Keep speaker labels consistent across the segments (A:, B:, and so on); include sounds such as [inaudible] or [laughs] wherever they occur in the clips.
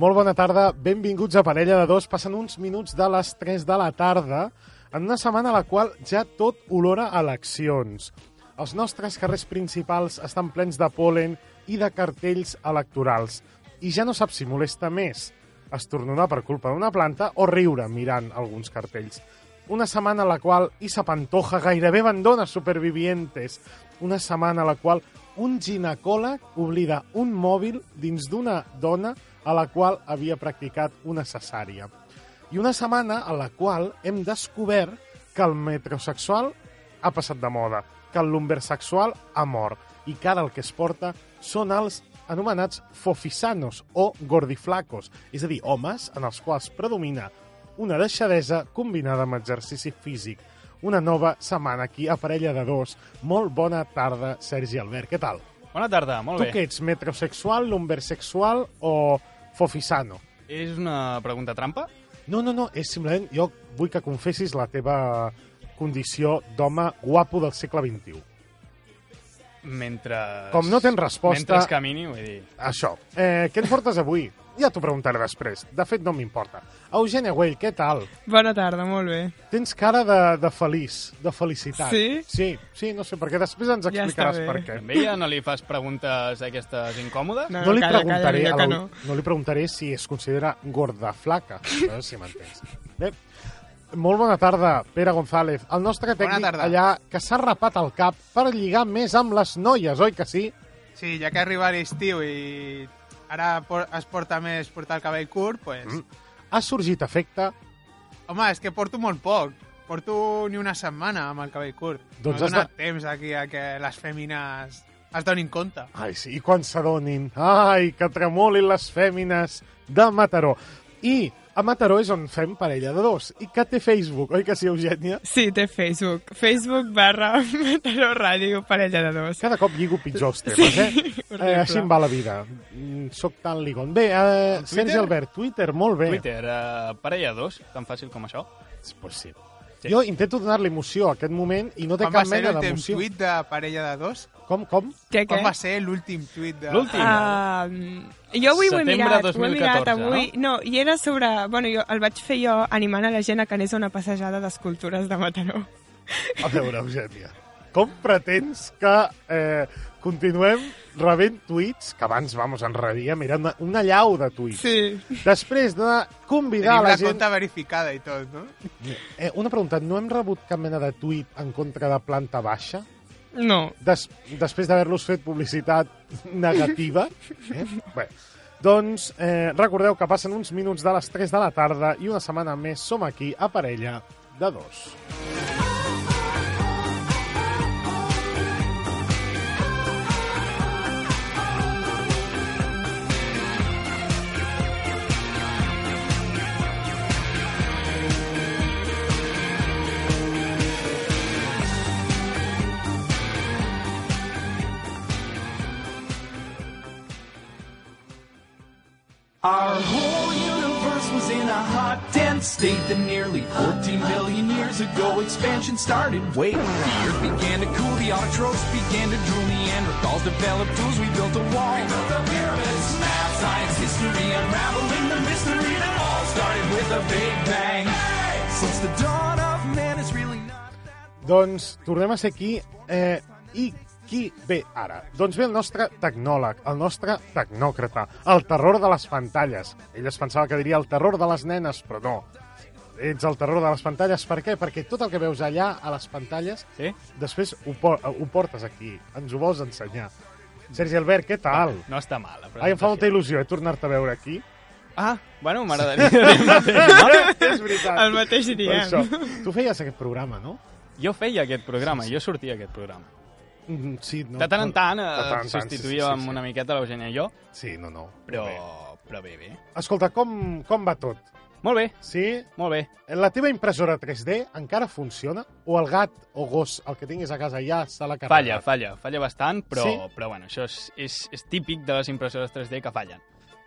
A: Molt bona tarda, benvinguts a Parella de Dos. Passen uns minuts de les 3 de la tarda, en una setmana a la qual ja tot olora a eleccions. Els nostres carrers principals estan plens de polen i de cartells electorals. I ja no saps si molesta més estornonar per culpa d'una planta o riure mirant alguns cartells. Una setmana a la qual Isa Pantoja gairebé abandona Supervivientes. Una setmana a la qual un ginecòleg oblida un mòbil dins d'una dona a la qual havia practicat una cesària. I una setmana a la qual hem descobert que el metrosexual ha passat de moda, que el lumbersexual ha mort i que ara el que es porta són els anomenats fofisanos o gordiflacos, és a dir, homes en els quals predomina una deixadesa combinada amb exercici físic. Una nova setmana aquí a Parella de Dos. Molt bona tarda, Sergi Albert. Què tal?
B: Bona tarda, molt
A: Tu
B: bé.
A: què ets, metrosexual, lumbersexual o fofisano?
B: És una pregunta trampa?
A: No, no, no, és simplement... Jo vull que confessis la teva condició d'home guapo del segle XXI.
B: Mentre...
A: Com no tens resposta...
B: Mentre es camini, vull dir...
A: Això. Eh, què ens portes avui? Ja t'ho preguntaré després. De fet, no m'importa. Eugènia Güell, què tal?
C: Bona tarda, molt bé.
A: Tens cara de, de feliç, de felicitat.
C: Sí?
A: Sí, sí, no sé, perquè després ens
C: Ja està
A: explicaràs
C: bé.
A: per què.
B: També ja no li fas preguntes d'aquestes incòmodes?
C: No.
A: No li,
C: calla,
A: preguntaré
C: calla,
A: a
C: que
A: la-
C: no.
A: no li preguntaré si es considera gorda flaca, no sé si m'entens. Bé, molt bona tarda, Pere González. El nostre tècnic
D: tarda.
A: allà que s'ha rapat el cap per lligar més amb les noies, oi que sí?
D: Sí, ja que arriba l'estiu i ara por- es porta més portar el cabell curt, pues...
A: Mm.
D: Mm.
A: Ha sorgit efecte.
D: Home, és que porto molt poc. Porto ni una setmana amb el cabell curt. no
A: Doncs
D: he
A: has
D: donat temps aquí a que les fèmines es donin compte.
A: Ai, sí, i quan s'adonin. Ai, que tremolin les fèmines de Mataró. I a Mataró és on fem parella de dos. I que té Facebook, oi que sí, Eugènia?
C: Sí, té Facebook. Facebook barra [laughs] Mataró Ràdio Parella de Dos.
A: Cada cop lligo pitjor els temes,
D: [laughs]
A: eh? eh
C: horrible.
A: així em va la vida. Mm, Soc tan ligon. Bé, eh, Sergi Albert, Twitter, molt bé.
B: Twitter, eh, parella dos, tan fàcil com això.
A: Pues sí. Jo intento donar-li emoció a aquest moment i no té
D: Quan va
A: cap
D: ser
A: mena
D: l'últim
A: d'emoció.
D: tuit de parella de dos?
A: Com, com?
C: Què, què?
D: Quan va ser l'últim tuit de...
B: L'últim?
C: Ah, jo avui ho he
B: Setembre
C: mirat, ho he
B: 2014,
C: mirat avui. No? i era sobre... Bueno, jo el vaig fer jo animant a la gent a que anés a una passejada d'escultures de Mataró.
A: A veure, Eugènia, com pretens que eh, continuem rebent tuits, que abans, vamos, en rebíem, era una, una llau de tuits.
C: Sí.
A: Després de convidar
D: Tenim
A: a
D: la
A: la gent...
D: compta verificada i tot, no?
A: Eh, una pregunta, no hem rebut cap mena de tuit en contra de planta baixa?
C: No.
A: des, després d'haver-los fet publicitat negativa. Eh? Bé, doncs eh, recordeu que passen uns minuts de les 3 de la tarda i una setmana més som aquí a Parella de dos.
E: Our whole universe was in a hot, dense state that nearly 14 billion years ago expansion started. Wait, the earth began to cool, the autotrophs began to drool, Neanderthals developed tools, we built a wall. We built the pyramids, math, science, history, unraveling the mystery that all started with a big bang. Since the dawn of man, it's really not that
A: Doncs tornem a ser aquí. Eh, I qui ve ara? Doncs ve el nostre tecnòleg, el nostre tecnòcrata, el terror de les pantalles. Ell es pensava que diria el terror de les nenes, però no. Ets el terror de les pantalles. Per què? Perquè tot el que veus allà, a les pantalles,
B: Sí?
A: després ho, por ho portes aquí. Ens ho vols ensenyar. Sergi Albert, què tal?
B: No està mal. la
A: Ai, em fa molta
B: presentació.
A: il·lusió, eh, tornar-te a veure aquí.
B: Ah, bueno, m'agradaria dir el
A: [laughs]
B: mateix, no?
A: És veritat.
C: El mateix
B: eh?
A: Per
C: diem.
A: això. Tu feies aquest programa, no?
B: Jo feia aquest programa, jo sortia aquest programa.
A: Mm, Sí, no.
B: De tant en tant,
A: De
B: eh,
A: tant en tant,
B: substituïa amb una miqueta l'Eugènia i jo,
A: Sí, no, no.
B: però...
A: Bé.
B: però bé, bé.
A: Escolta, com, com va tot?
B: Molt bé,
A: Sí?
B: molt bé.
A: La teva impressora 3D encara funciona? O el gat o gos, el que tinguis a casa ja, se
B: Falla,
A: l'ha carregat?
B: falla, falla bastant, però,
A: Sí?
B: però bueno, això és, és, és típic de les impressores 3D que fallen.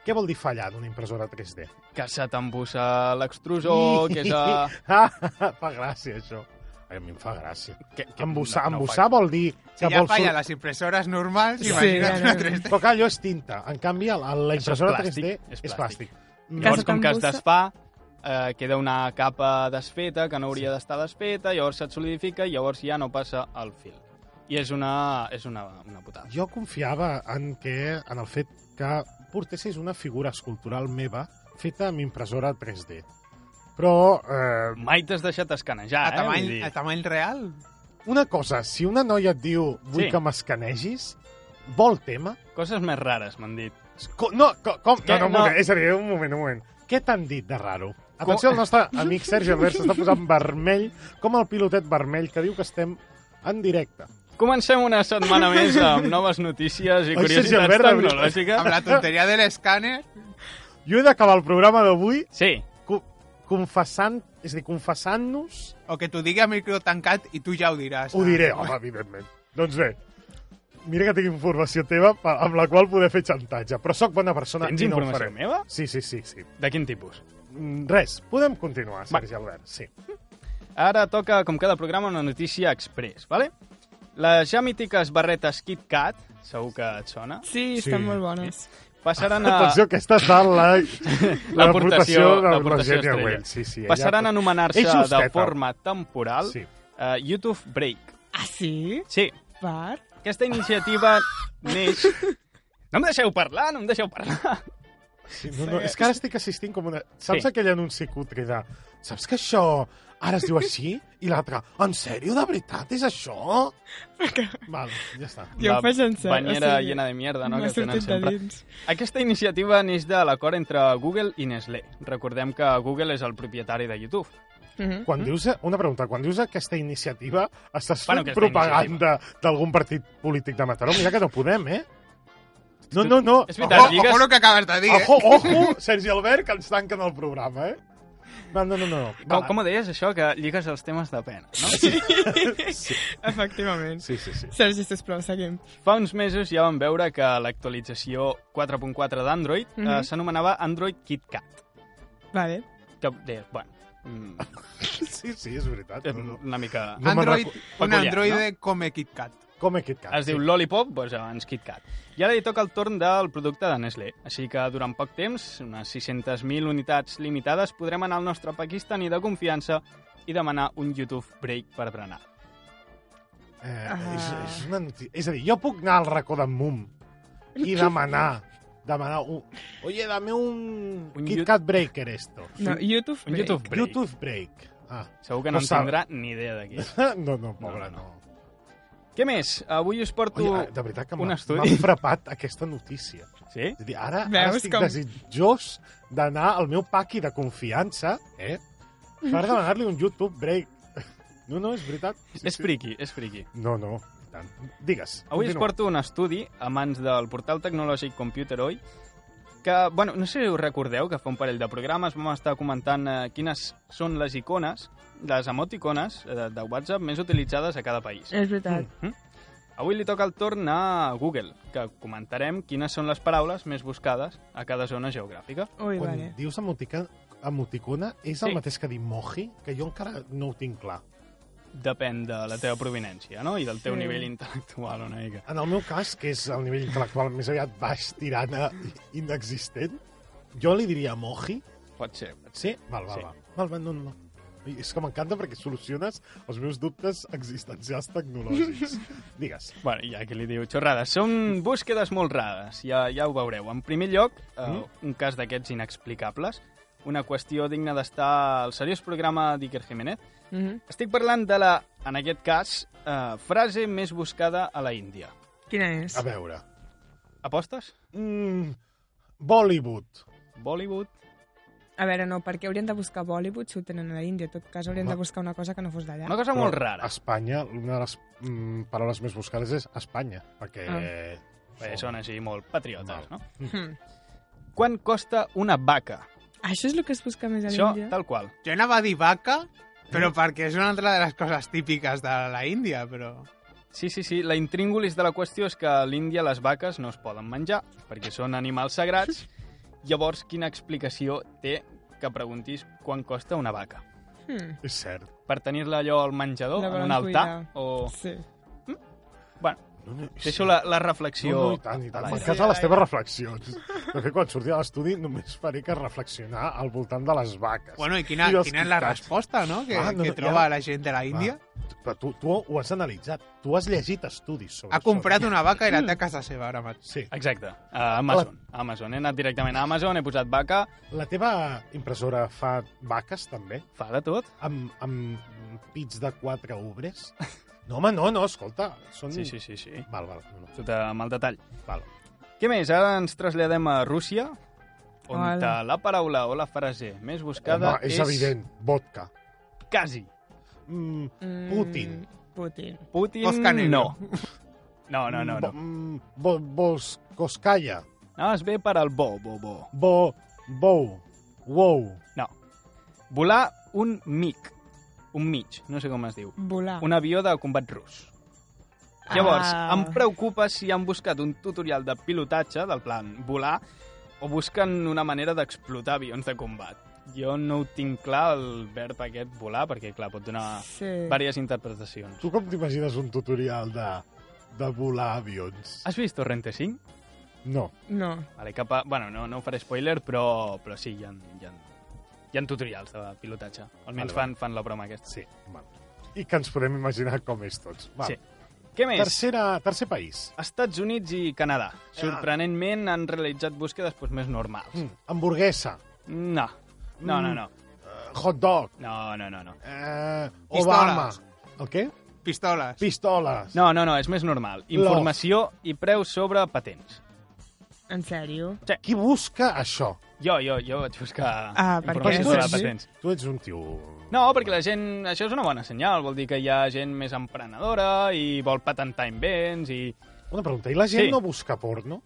A: Què vol dir fallar d'una impressora 3D?
B: Que se t'embussa l'extrusor, que se...
A: Ah, [laughs] fa gràcia, això. A mi em fa gràcia.
B: Que, que
A: Embussar,
B: no- no ho
A: embussar vol dir
D: Si
A: que
D: ja
A: vols...
D: falla les impressores normals,
C: Sí,
D: imagina't
C: ara-
D: una 3D.
A: Però clar, allò és tinta. En canvi, el- el-
B: Això
A: la
B: és
A: impressora
B: plàstic,
A: 3D
B: és
A: és
B: plàstic.
A: plàstic.
B: Llavors, com que es
C: Bussa.
B: desfà, eh, queda una capa desfeta que no hauria d'estar desfeta, llavors se't solidifica i llavors ja no passa al fil. I és una, és una, una putada.
A: Jo confiava en que en el fet que portessis una figura escultural meva feta amb impressora 3D. Però eh,
B: Mai t'has deixat escanejar,
D: A
B: eh?
D: tamany,
B: Vull dir,
D: a tamany real?
A: una cosa, si una noia et diu vull
B: Sí.
A: sí. que m'escanegis, vol tema?
B: Coses més rares, m'han dit.
A: Co no, co com?
B: Què?
A: No, no, un
B: No.
A: moment, és a dir, un moment, un moment. Què t'han dit de raro? Atenció, el
B: [laughs]
A: nostre amic Sergi Albert s'està posant vermell, com el pilotet vermell que diu que estem en directe.
B: Comencem una setmana més amb noves notícies i
A: Ai, Sergi
B: curiositats
A: Albert, de veritat.
D: Amb
B: tecnològiques.
D: la tonteria de l'escàner?
A: Jo he d'acabar el programa d'avui
B: Sí,
A: co confessant, és a dir, confessant-nos,
D: O que t'ho digui a micro tancat i tu ja ho diràs.
A: ho diré, home, evidentment. Doncs bé, mira que tinc informació teva pa- amb la qual poder fer xantatge, però sóc bona persona
B: tens
A: i no ho
B: informació
A: faré.
B: meva?
A: Sí, sí, sí, sí.
B: De quin tipus?
A: Mm, Res, podem continuar, Sergi Albert, sí.
B: Ara toca, com cada programa, una notícia express, vale? Les ja mítiques barretes Kit Kat, segur que et sona,
C: Sí,
A: Sí.
C: estan molt bones.
A: [laughs]
B: passaran a...
A: Atenció, aquesta està
B: [laughs]
A: la...
B: L'aportació-
A: l'aportació de la
B: l'aportació
A: Genia
B: estrella.
A: Güell. Sí, sí, ella-
B: Passaran a
A: És
B: anomenar-se
A: justeta.
B: de forma temporal
A: Sí.
B: sí. uh, YouTube Break.
C: Ah, sí?
B: Sí,
C: Per?
B: aquesta iniciativa neix... No em deixeu parlar, no em deixeu parlar.
A: Sí, no, no, és que ara estic assistint com una... Saps
B: Sí.
A: aquell anunci cutre de... Saps que això ara es diu així? I l'altre, en sèrio, de veritat, és això? Val, ja està.
C: Jo
B: La
C: ho faig en sèrio,
B: banyera
C: o sigui,
B: llena de mierda, no?,
C: m'ha
B: que tenen
C: sortit de
B: sempre.
C: dins.
B: Aquesta iniciativa neix de l'acord entre Google i Nestlé. Recordem que Google és el propietari de YouTube.
C: Mhm.
A: Quan dius, una pregunta, quan dius aquesta iniciativa, estàs
B: Bueno,
A: fent
B: aquesta
A: propaganda d'algun partit polític de Mataró? Mira que no podem, eh? No, no, no.
B: És
D: Ojo,
B: veritat,
A: Ojo,
B: lligues-
D: ojo el que acabes de dir, eh?
A: ojo, ojo, Sergi Albert, que ens tanquen el programa, eh? No, no, no. no.
B: Com, com ho deies, això, que lligues els temes de pena, no?
C: Efectivament.
A: Sí, sí, sí.
C: Sergi, sisplau, seguim.
B: Fa uns mesos ja vam veure que l'actualització 4.4 d'Android mm -hmm.
C: Mhm.
B: eh, s'anomenava Android KitKat.
C: Vale.
B: Que deies, bueno, mm,
A: Sí, sí, és veritat.
B: eh,
A: No, no.
B: una mica...
A: me'n
D: Android, un
B: Peculiar,
D: androide come KitKat.
A: Com he KitKat.
B: Es diu Lollipop, doncs abans KitKat. I ara li toca el torn del producte de Nestlé. Així que durant poc temps, unes 600.000 unitats limitades, podrem anar al nostre pakistaní de confiança i demanar un YouTube break per berenar.
A: Eh,
C: Ah.
A: és, és, una noti- és a dir, jo puc anar al racó d'en Mum i demanar demanar un... Oye, dame un,
B: Un
A: un Kit
B: Yout-
A: Kat Breaker esto.
C: No, YouTube
B: Un
C: Break.
B: YouTube break. YouTube.
A: YouTube Break. Ah. [laughs]
B: Segur que no,
A: No
B: en
A: sap.
B: tindrà ni idea d'aquí.
A: No, no, pobre,
B: No,
A: no.
B: Què més? Avui us porto...
A: Oye, ah, de veritat que
B: un
A: m'ha
B: estudi.
A: m'ha frapat aquesta notícia.
B: Sí?
A: És a dir, ara, ara
C: Veus
A: estic
C: com-
A: com... desitjós d'anar al meu paqui de confiança eh, per demanar-li un YouTube Break. [laughs] No, no, és veritat. Sí,
B: És friqui, és friqui.
A: No, no, i tant. Digues.
B: Avui us
A: continua.
B: porto un estudi a mans del portal tecnològic ComputerOi que, bueno, no sé si us recordeu que fa un parell de programes vam estar comentant eh, quines són les icones, les emoticones eh, de, de WhatsApp més utilitzades a cada país.
C: És veritat.
B: Avui li toca el torn a Google, que comentarem quines són les paraules més buscades a cada zona geogràfica.
C: Ui,
A: Quan
C: vale.
A: dius emotica, emoticona, és el
B: eh? Sí.
A: mateix que dir moji? Que jo encara no ho tinc clar.
B: Depèn de la teva provenència, no?, i del teu
C: Sí.
B: nivell intel·lectual una mica.
A: En el meu cas, que és el nivell intel·lectual més aviat baix, tirant a [laughs] inexistent, jo li diria moji.
B: Pot ser, pot
A: Sí? Val, val,
B: Sí.
A: sí. val. Val, val, no, no. no. I És que m'encanta perquè soluciones els meus dubtes existencials tecnològics. Digues.
B: Bueno, hi ha qui li diu xorrades. Són búsquedes molt rares, ja, ja ho veureu. En primer lloc, eh,
A: Mm-hmm.
B: un cas d'aquests inexplicables, una qüestió digna d'estar al seriós programa d'Iker Jiménez.
C: Mhm.
B: Estic parlant de la, en aquest cas, eh, frase més buscada a la Índia.
C: Quina és?
A: A veure.
B: Apostes?
A: Mm, Bollywood.
B: Bollywood?
C: A veure, no, perquè haurien de buscar Bollywood si ho tenen a l'Índia. En tot cas, haurien de buscar una cosa que no fos d'allà.
B: Una cosa
A: Però
B: molt rara.
A: A Espanya, una de les mm, paraules més buscades és Espanya, perquè...
B: Bé, són així molt patriotes,
A: Val.
B: no?
C: Hm.
B: Quan costa una vaca?
C: Això és el que es busca més a
B: Això,
C: l'Índia?
B: tal qual.
D: Jo anava a dir vaca, però perquè és una altra de les coses típiques de la Índia, però...
B: Sí, sí, sí. La intríngulis de la qüestió és que a l'Índia les vaques no es poden menjar perquè són animals sagrats. Llavors, quina explicació té que preguntis quan costa una vaca?
C: Hm.
A: És cert.
B: Per tenir-la allò al menjador,
C: La
B: en
C: volen
B: un altar?
C: cuidar.
B: O...
C: Sí.
B: Bueno,
A: No, no,
B: Deixo la, la
A: No,
B: reflexió.
A: no, i tant, i tant.
B: a l'aire.
A: M'encanta les teves reflexions. De fet, quan surti a l'estudi només faré que reflexionar al voltant de les vaques.
D: Bueno, i quina,
A: I els
D: quina és la
A: quicats.
D: resposta, no? Que,
A: Ah, no,
D: que
A: no,
D: troba
A: ja-
D: la gent de la Índia.
A: Però tu, tu ho has analitzat, tu has llegit estudis sobre
D: Ha comprat una vaca i l'ha de casa seva ara mateix.
A: Sí.
B: Exacte, a Amazon. A Amazon. He anat directament a Amazon, he posat vaca,
A: La teva impressora fa vaques, també?
B: fa de tot.
A: Amb, amb pits de quatre obres?
B: [laughs]
A: No, home, no, no, escolta. Són...
B: Sí, sí, sí, sí.
A: Val, val, no, no,
B: Tot amb el detall.
A: val.
B: Què més? Ara ens traslladem a Rússia, on
C: Hola.
B: la paraula o la frase més buscada
A: Home, és,
B: és
A: evident, vodka.
B: quasi.
A: Mm,
C: Mm,
A: Putin.
C: Putin.
B: Putin,
D: Vodka negro.
B: no. [laughs] No, no, no,
A: Bo,
B: no.
A: mm, bo, Volskoskaya.
B: No, es ve per al bo, bo, bo.
A: Bo, bou, wow.
B: No. Volar un mic. Un mig, no sé com es diu.
C: Volar.
B: Un avió de combat rus. Llavors,
C: Ah.
B: em preocupa si han buscat un tutorial de pilotatge, del plan volar, o busquen una manera d'explotar avions de combat. Jo no ho tinc clar, el verb aquest, volar, perquè, clar, pot donar
C: Sí.
B: diverses interpretacions.
A: Tu com t'imagines un tutorial de, de volar avions?
B: Has vist Torrente 5?
A: No.
C: No.
B: Vale, cap a... Bueno, no, no faré spoiler, però, però sí, hi ha, hi, ha, hi ha tutorials de pilotatge. Almenys
A: Vale,
B: fan, fan la broma aquesta.
A: Sí, val. I que ens podem imaginar com és tots. Val.
B: Sí. Què més?
A: Tercera, tercer Ah. país.
B: Estats Units i Canadà. Sorprenentment han realitzat búsquedes doncs, més normals.
A: Mm, hamburguesa,
B: No. No, no, no.
A: eh, hot dog,
B: No, no, no, no.
A: eh, Obama... El què?
D: Pistoles.
A: Pistoles.
B: No, no, no, és més normal. Informació i preus sobre patents.
C: En sèrio?
A: Qui busca això?
B: Jo, jo, jo vaig buscar
C: Ah, per
A: Però
C: què?
B: informació
A: tu,
B: sobre
A: ets,
B: patents.
A: tu ets un tio...
B: No, perquè la gent... Això és una bona senyal. Vol dir que hi ha gent més emprenedora i vol patentar invents i...
A: Una pregunta, i la gent
B: Sí.
A: no busca porno?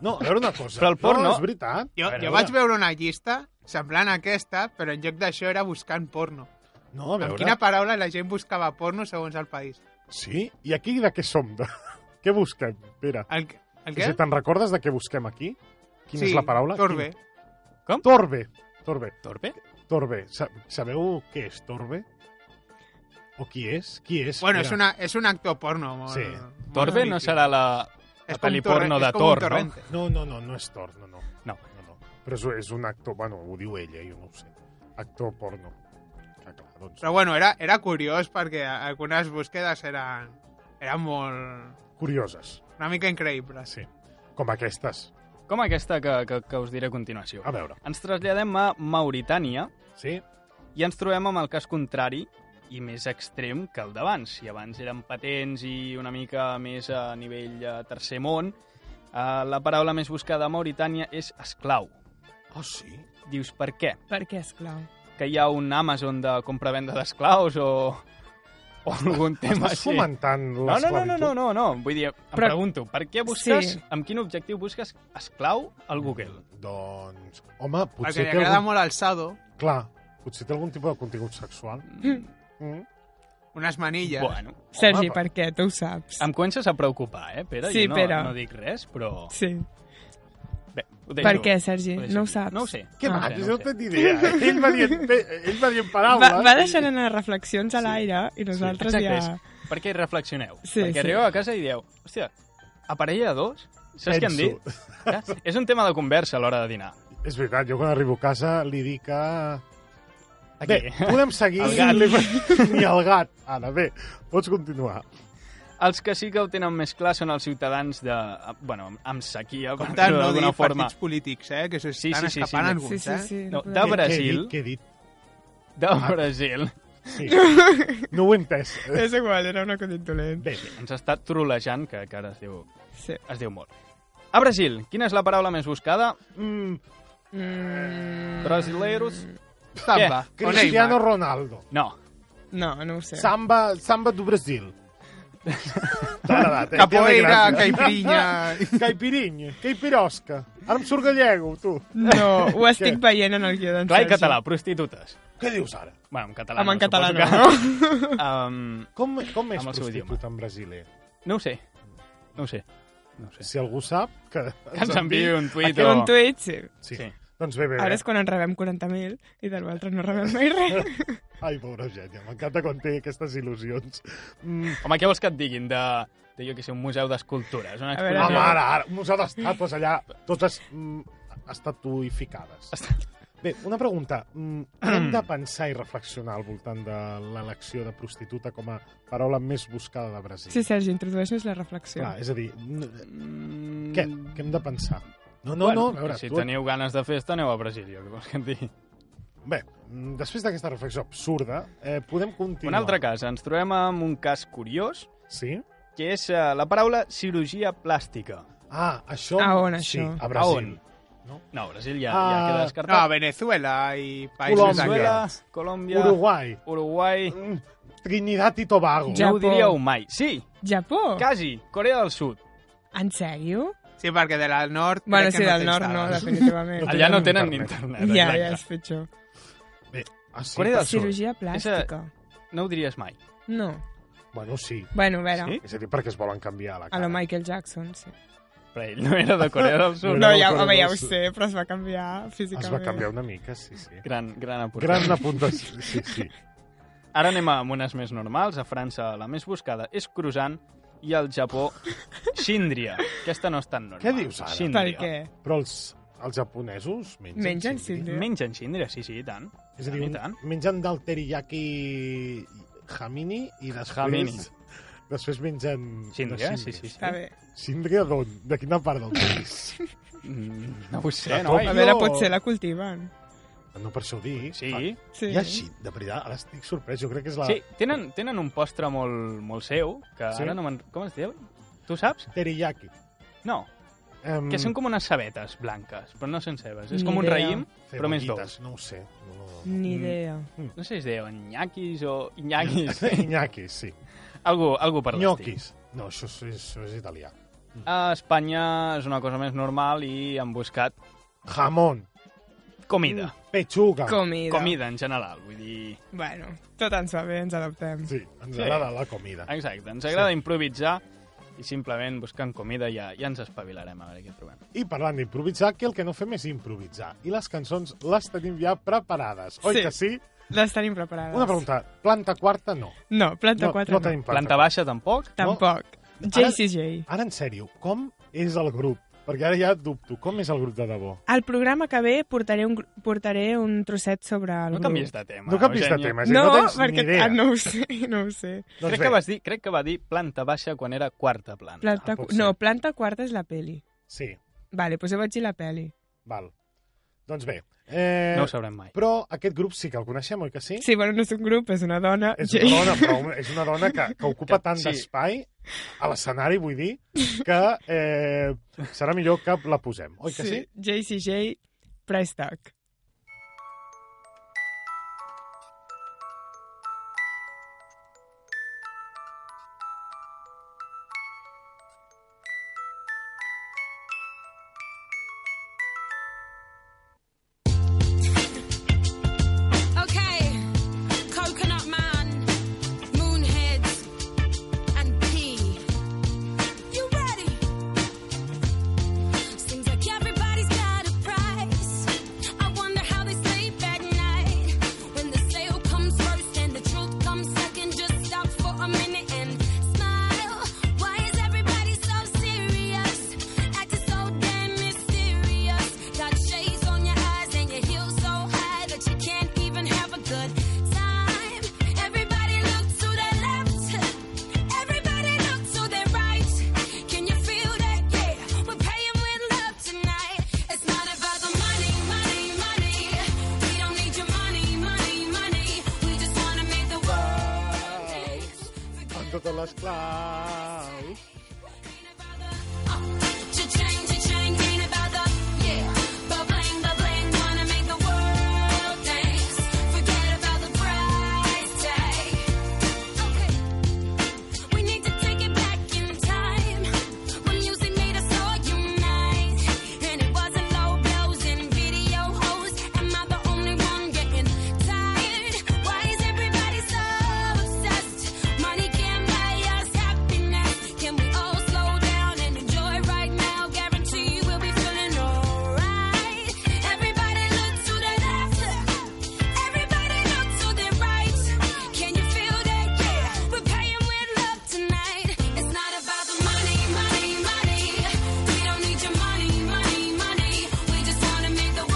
A: No, a veure una cosa.
B: Però el porno-
A: No, és veritat.
D: Jo,
A: A veure,
D: jo vaig veure una llista semblant a aquesta, però en lloc d'això era buscant porno.
A: No, a
D: Amb
A: veure...
D: quina paraula la gent buscava porno segons el país?
A: Sí? I aquí de què som? De... [laughs] què busquem? Pere,
D: El, el
A: si
D: què?
A: te'n recordes de què busquem aquí? Quina
D: sí,
A: és la paraula?
D: Torbe.
A: Quin- Torbe. Torbe.
B: Torpe?
A: Torbe. Sa sabeu què és Torbe? O qui és? Qui és?
D: Bueno,
A: Mira,
D: és, una, és un actor porno. Molt,
A: Sí.
D: molt
B: Torbe no
D: mític.
B: serà la,
D: És
B: la
D: com
B: pel·li
D: un torre-
B: porno
D: és
B: de
D: com un
B: Tor, no?
D: torrente.
A: No, no, no, no és Tor, no, no.
B: No.
A: no, no. Però és, és un actor, bueno, ho diu ell, eh, jo no ho sé. Actor porno. Que clar, doncs,
D: Però bueno, era, era curiós perquè algunes búsquedes eren, eren molt...
A: curioses,
D: una mica increïbles.
A: sí. Com aquestes.
B: Com aquesta que, que, que us diré a continuació.
A: A veure,
B: Ens traslladem a Mauritània
A: sí?
B: i ens trobem amb el cas contrari i més extrem que el d'abans. Si abans eren patents i una mica més a nivell eh, tercer món, eh, la paraula més buscada a Mauritània és esclau.
A: Oh, sí?
B: Dius, per què?
C: Per què, esclau?
B: Que hi ha un Amazon de compravenda d'esclaus o, o algun tema
A: Estàs
B: així?
A: fomentant
B: No, no,
A: l'esclavitud?
B: no, no, no, no, no. Vull dir, em
C: Però-
B: pregunto, per què busques,
C: Sí.
B: amb quin objectiu busques esclau al Google?
A: Doncs, home,
D: Perquè
A: potser
D: li
A: té
D: agrada
A: algun...
D: molt el sado,
A: Clar, potser té algun tipus de contingut sexual.
B: Mm,
A: Mm.
D: unes manilles.
B: bueno,
C: Sergi,
A: Home,
C: per què? Tu ho saps.
B: em comences a preocupar, eh, Pere?
C: Sí,
B: jo no,
C: Pere.
B: no dic res, però...
C: Sí.
B: Bé, ho deixo.
C: Per què, Sergi?
B: Ho deixo
C: No ho
B: aquí.
C: saps?
B: No ho sé.
A: Què
C: Ah.
A: va?
B: Ara
A: Jo
B: no
A: no
B: ho sé.
A: tinc ni idea. eh? Ell va dient, ell va dient paraules.
C: Va,
B: eh?
C: va deixant anar reflexions a l'aire i nosaltres
B: Exacte,
C: ja...
B: és perquè reflexioneu.
C: Sí,
B: perquè
C: sí.
B: arribeu a casa i dieu, hòstia, a parella de dos? Saps què han dit? Eh? És un tema de conversa a l'hora de dinar.
A: És veritat, jo quan arribo a casa li dic a...
B: Aquí.
A: Bé, podem seguir.
B: El gat.
A: Li- Ni el gat. Ara, bé, pots continuar.
B: Els que sí que ho tenen més clar són els ciutadants de... eh, Bueno, amb sequia, per
D: Compte,
B: dir-ho
D: no dir
B: d'alguna forma.
D: partits polítics, eh? Que s'estan
B: Sí, sí, sí,
D: escapant
B: sí.
D: alguns,
C: Sí, sí,
D: eh?
C: sí.
B: No,
C: podem-
B: de
A: Què-
B: Brasil,
A: Què he dit?
B: de Brasil, [laughs]
A: Què he dit? Sí. No ho he entès.
C: [laughs] És igual, era una acudit dolent.
A: Bé,
B: ens està trolejant, que, que ara es diu,
C: Sí.
B: es diu molt. A Brasil, quina és la paraula més buscada?
A: mm,
C: Mm,
B: Brasileiros?
A: Mm.
D: Samba. O
A: Cristiano
D: Neymar.
A: Ronaldo.
B: No,
C: No, no ho sé.
A: Samba, samba do Brasil. T'ha agradat, eh?
D: Capoeira,
A: Que gràcia.
B: [laughs]
A: [laughs]
D: caipirinha...
A: Caipirinha, caipirosca. Ara em surt gallego, tu.
C: No, ho estic veient en el guió d'en
B: clar i
C: Sergi.
B: català, prostitutes.
A: Què dius ara?
B: Bueno, en català
C: Home, en
B: no,
C: català no.
B: suposo Que... Um,
A: Com, com és
B: Amb el seu
A: prostitut en brasiler?
B: no ho sé, no ho sé. No ho sé.
A: Si algú sap, que
B: Que ens enviï un tuit
C: Però...
B: o...
C: Un tuit, sí.
A: Sí.
B: Sí.
A: Doncs bé, bé,
C: Ara
A: bé.
C: és quan en rebem 40.000 i de l'altre no rebem mai res.
A: Ai, pobra Eugènia, m'encanta quan té aquestes il·lusions. Mm,
B: Home, què vols que et diguin de, de jo que sé, un museu d'escultures? Una
C: A veure,
A: home,
B: exposició?
A: ara, ara, un museu d'estàtues allà, totes mm, estatuificades. Bé, una pregunta. Mm,
C: [clears throat]
A: hem de pensar i reflexionar al voltant de l'elecció de prostituta com a paraula més buscada de Brasil.
C: Sí, Sergi, introdueixes la reflexió.
A: Clar, és a dir, n-
B: Mm,
A: què? Què hem de pensar? No, no,
B: bueno,
A: no, a veure,
B: si
A: tu...
B: teniu ganes de festa, aneu a Brasília, què vols que et digui?
A: Bé, mm, després d'aquesta reflexió absurda, eh, podem continuar.
B: Un altre cas, ens trobem amb un cas curiós,
A: Sí?
B: que és eh, la paraula cirurgia plàstica.
A: Ah, això...
C: A on,
A: sí,
C: això?
A: a Brasil.
B: A Ah, on?
A: No?
B: No, Brasil ja, ja
A: Ah,
B: queda
D: No, a
B: descartat.
D: Venezuela i països
B: Venezuela,
A: Venezuela.
D: d'aquests.
B: Colòmbia,
A: Uruguai.
B: Uruguai...
A: Mm, Trinidad i Tobago.
C: Ja.
B: No ho
C: Japó.
B: diríeu mai. Sí,
C: Japó?
B: quasi. Corea del Sud.
C: En sèrio?
D: Sí, perquè de la nord...
C: Bueno,
D: crec
C: sí,
D: que
C: del
D: té
C: nord no,
D: estades.
A: No
B: [laughs]
C: definitivament.
B: Allà no
A: tenen
B: tenen internet.
C: ja,
B: exacte.
C: ja és pitjor.
A: Bé, ah, sí,
B: Corea del Sud.
C: Cirurgia plàstica.
B: No ho diries mai.
C: No.
A: Bueno, sí.
C: Bueno, a veure,
B: Sí?
A: És a dir, perquè es volen canviar la
C: a
A: cara.
C: lo Michael Jackson, sí.
B: Però ell no era de Corea del
A: [laughs]
B: Sud.
A: No,
C: No,
A: del
C: ja,
A: Corea
C: home, ja
A: del
C: ho
A: Sud.
C: sé, però es va canviar físicament.
A: Es va canviar una mica, sí, sí.
B: Gran, gran aportació.
A: Gran apuntació, sí, sí.
B: Ara anem a unes més normals. A França la més buscada és croissant i al Japó síndria. Aquesta no és tan normal.
A: Què dius ara?
C: Per
B: Síndria.
C: què?
A: Però els, els japonesos mengen,
C: Mengen
A: sindri?
C: sindri.
B: Mengen síndria, sí, sí, i tant.
A: És a dir,
B: Ah, I
A: un,
B: tant.
A: mengen del teriyaki hamini i després...
B: Hamini.
A: Després mengen...
B: Síndria,
A: de
B: sí, sí. sí.
C: Està bé.
A: Síndria d'on? De quina part del país?
B: Mm, no ho
A: De
B: sé, no?
A: tot.
C: A
A: Jo-
C: veure, potser la cultiven.
A: no, per això ho dic.
B: Sí.
A: Fa-
C: Sí.
A: Hi ha així, de veritat, ara estic sorprès. Jo crec que és la
B: Sí, tenen, tenen un postre molt, molt seu, que
A: Sí?
B: sí? ara no me'n... Com es diu? Tu saps?
A: teriyaki.
B: No,
A: Um,
B: que són com unes cebetes blanques, però no són cebes. És
C: Ni
B: com un
C: idea.
B: raïm, però més dolç.
A: No ho sé. No, no, no.
C: Ni idea.
B: No sé si es deien nyaquis o inyaquis.
A: Iñakis, sí.
B: [laughs] algú, algú per l'estil.
A: Gnocchis. No, això, és- això és italià.
B: A Espanya és una cosa més normal i han buscat
A: Jamón.
B: comida.
A: Pechuga.
C: Comida.
B: Comida, en general. Vull dir...
C: Bueno, tot ens va bé, ens adaptem.
A: Sí, ens
B: Sí.
A: agrada la comida.
B: Exacte, ens agrada sí. improvisar i simplement buscant comida ja, ja ens espavilarem a veure què trobem.
A: I parlant d'improvisar, que el que no fem és improvisar. I les cançons les tenim ja preparades. Oi
C: Sí.
A: que sí?
C: Les tenim preparades.
A: Una pregunta. Planta quarta, no.
C: No, planta
A: No,
C: 4
A: no tenim planta,
B: Planta baixa tampoc?
C: Tampoc. JCJ.
A: Ara, en sèrio, com és el grup? Perquè ara ja dubto. Com és el grup de debò?
C: Al programa que ve portaré un, gru- portaré un trosset sobre el
B: No
C: grup.
B: canvies de tema.
A: No canvis de
B: Eugènia.
A: tema, és a dir,
C: No,
A: no, tens
C: perquè
A: ni idea.
C: ah, no ho sé, no ho sé.
A: Doncs
B: crec,
A: bé,
B: que vas dir, crec que va dir planta baixa quan era quarta planta.
C: Planta,
A: Ah,
C: cu-
A: pot ser.
C: no, planta quarta és la peli.
A: Sí,
C: Vale, doncs jo vaig dir la peli.
A: val. Doncs bé. Eh,
B: No ho sabrem mai.
A: Però aquest grup sí que el coneixem, oi que sí?
C: Sí, bueno, no és un grup, és una dona.
A: És
C: Jay.
A: una
C: [laughs]
A: dona, però una- és una dona que, que ocupa
B: Que-
A: tant
B: sí.
A: d'espai a l'escenari, vull dir, que eh, serà millor que la posem, oi que sí?
C: sí? JCJ, Price Tag.
F: Okay, Coconut Man, Moonhead, and P. You ready? Seems like everybody's got a price. I wonder how they sleep at night. When the sale comes first and the truth comes second, just stop for a minute and smile. Why is everybody so serious? Acting so damn mysterious. Got shades on your eyes and your heels so high that you can't even have a good time. Everybody look to their left. Everybody look to their right. Can you feel that? Yeah, we're paying with love tonight. It's not about the money, money, money. We don't need your money, money, money. We just wanna make the world dance.
A: Amb totes les claus.
F: Cha-ching, cha-ching, ain't about the yeah. Ba-bling, ba-bling, wanna make the world dance. Forget about the price tag. Okay. We need to take it back in time. When music made us all unite. And it wasn't low blows and video hoes. Am I the only one getting tired? Why is everybody so obsessed? Money can't buy us happiness. Can we all eh? oh, eh?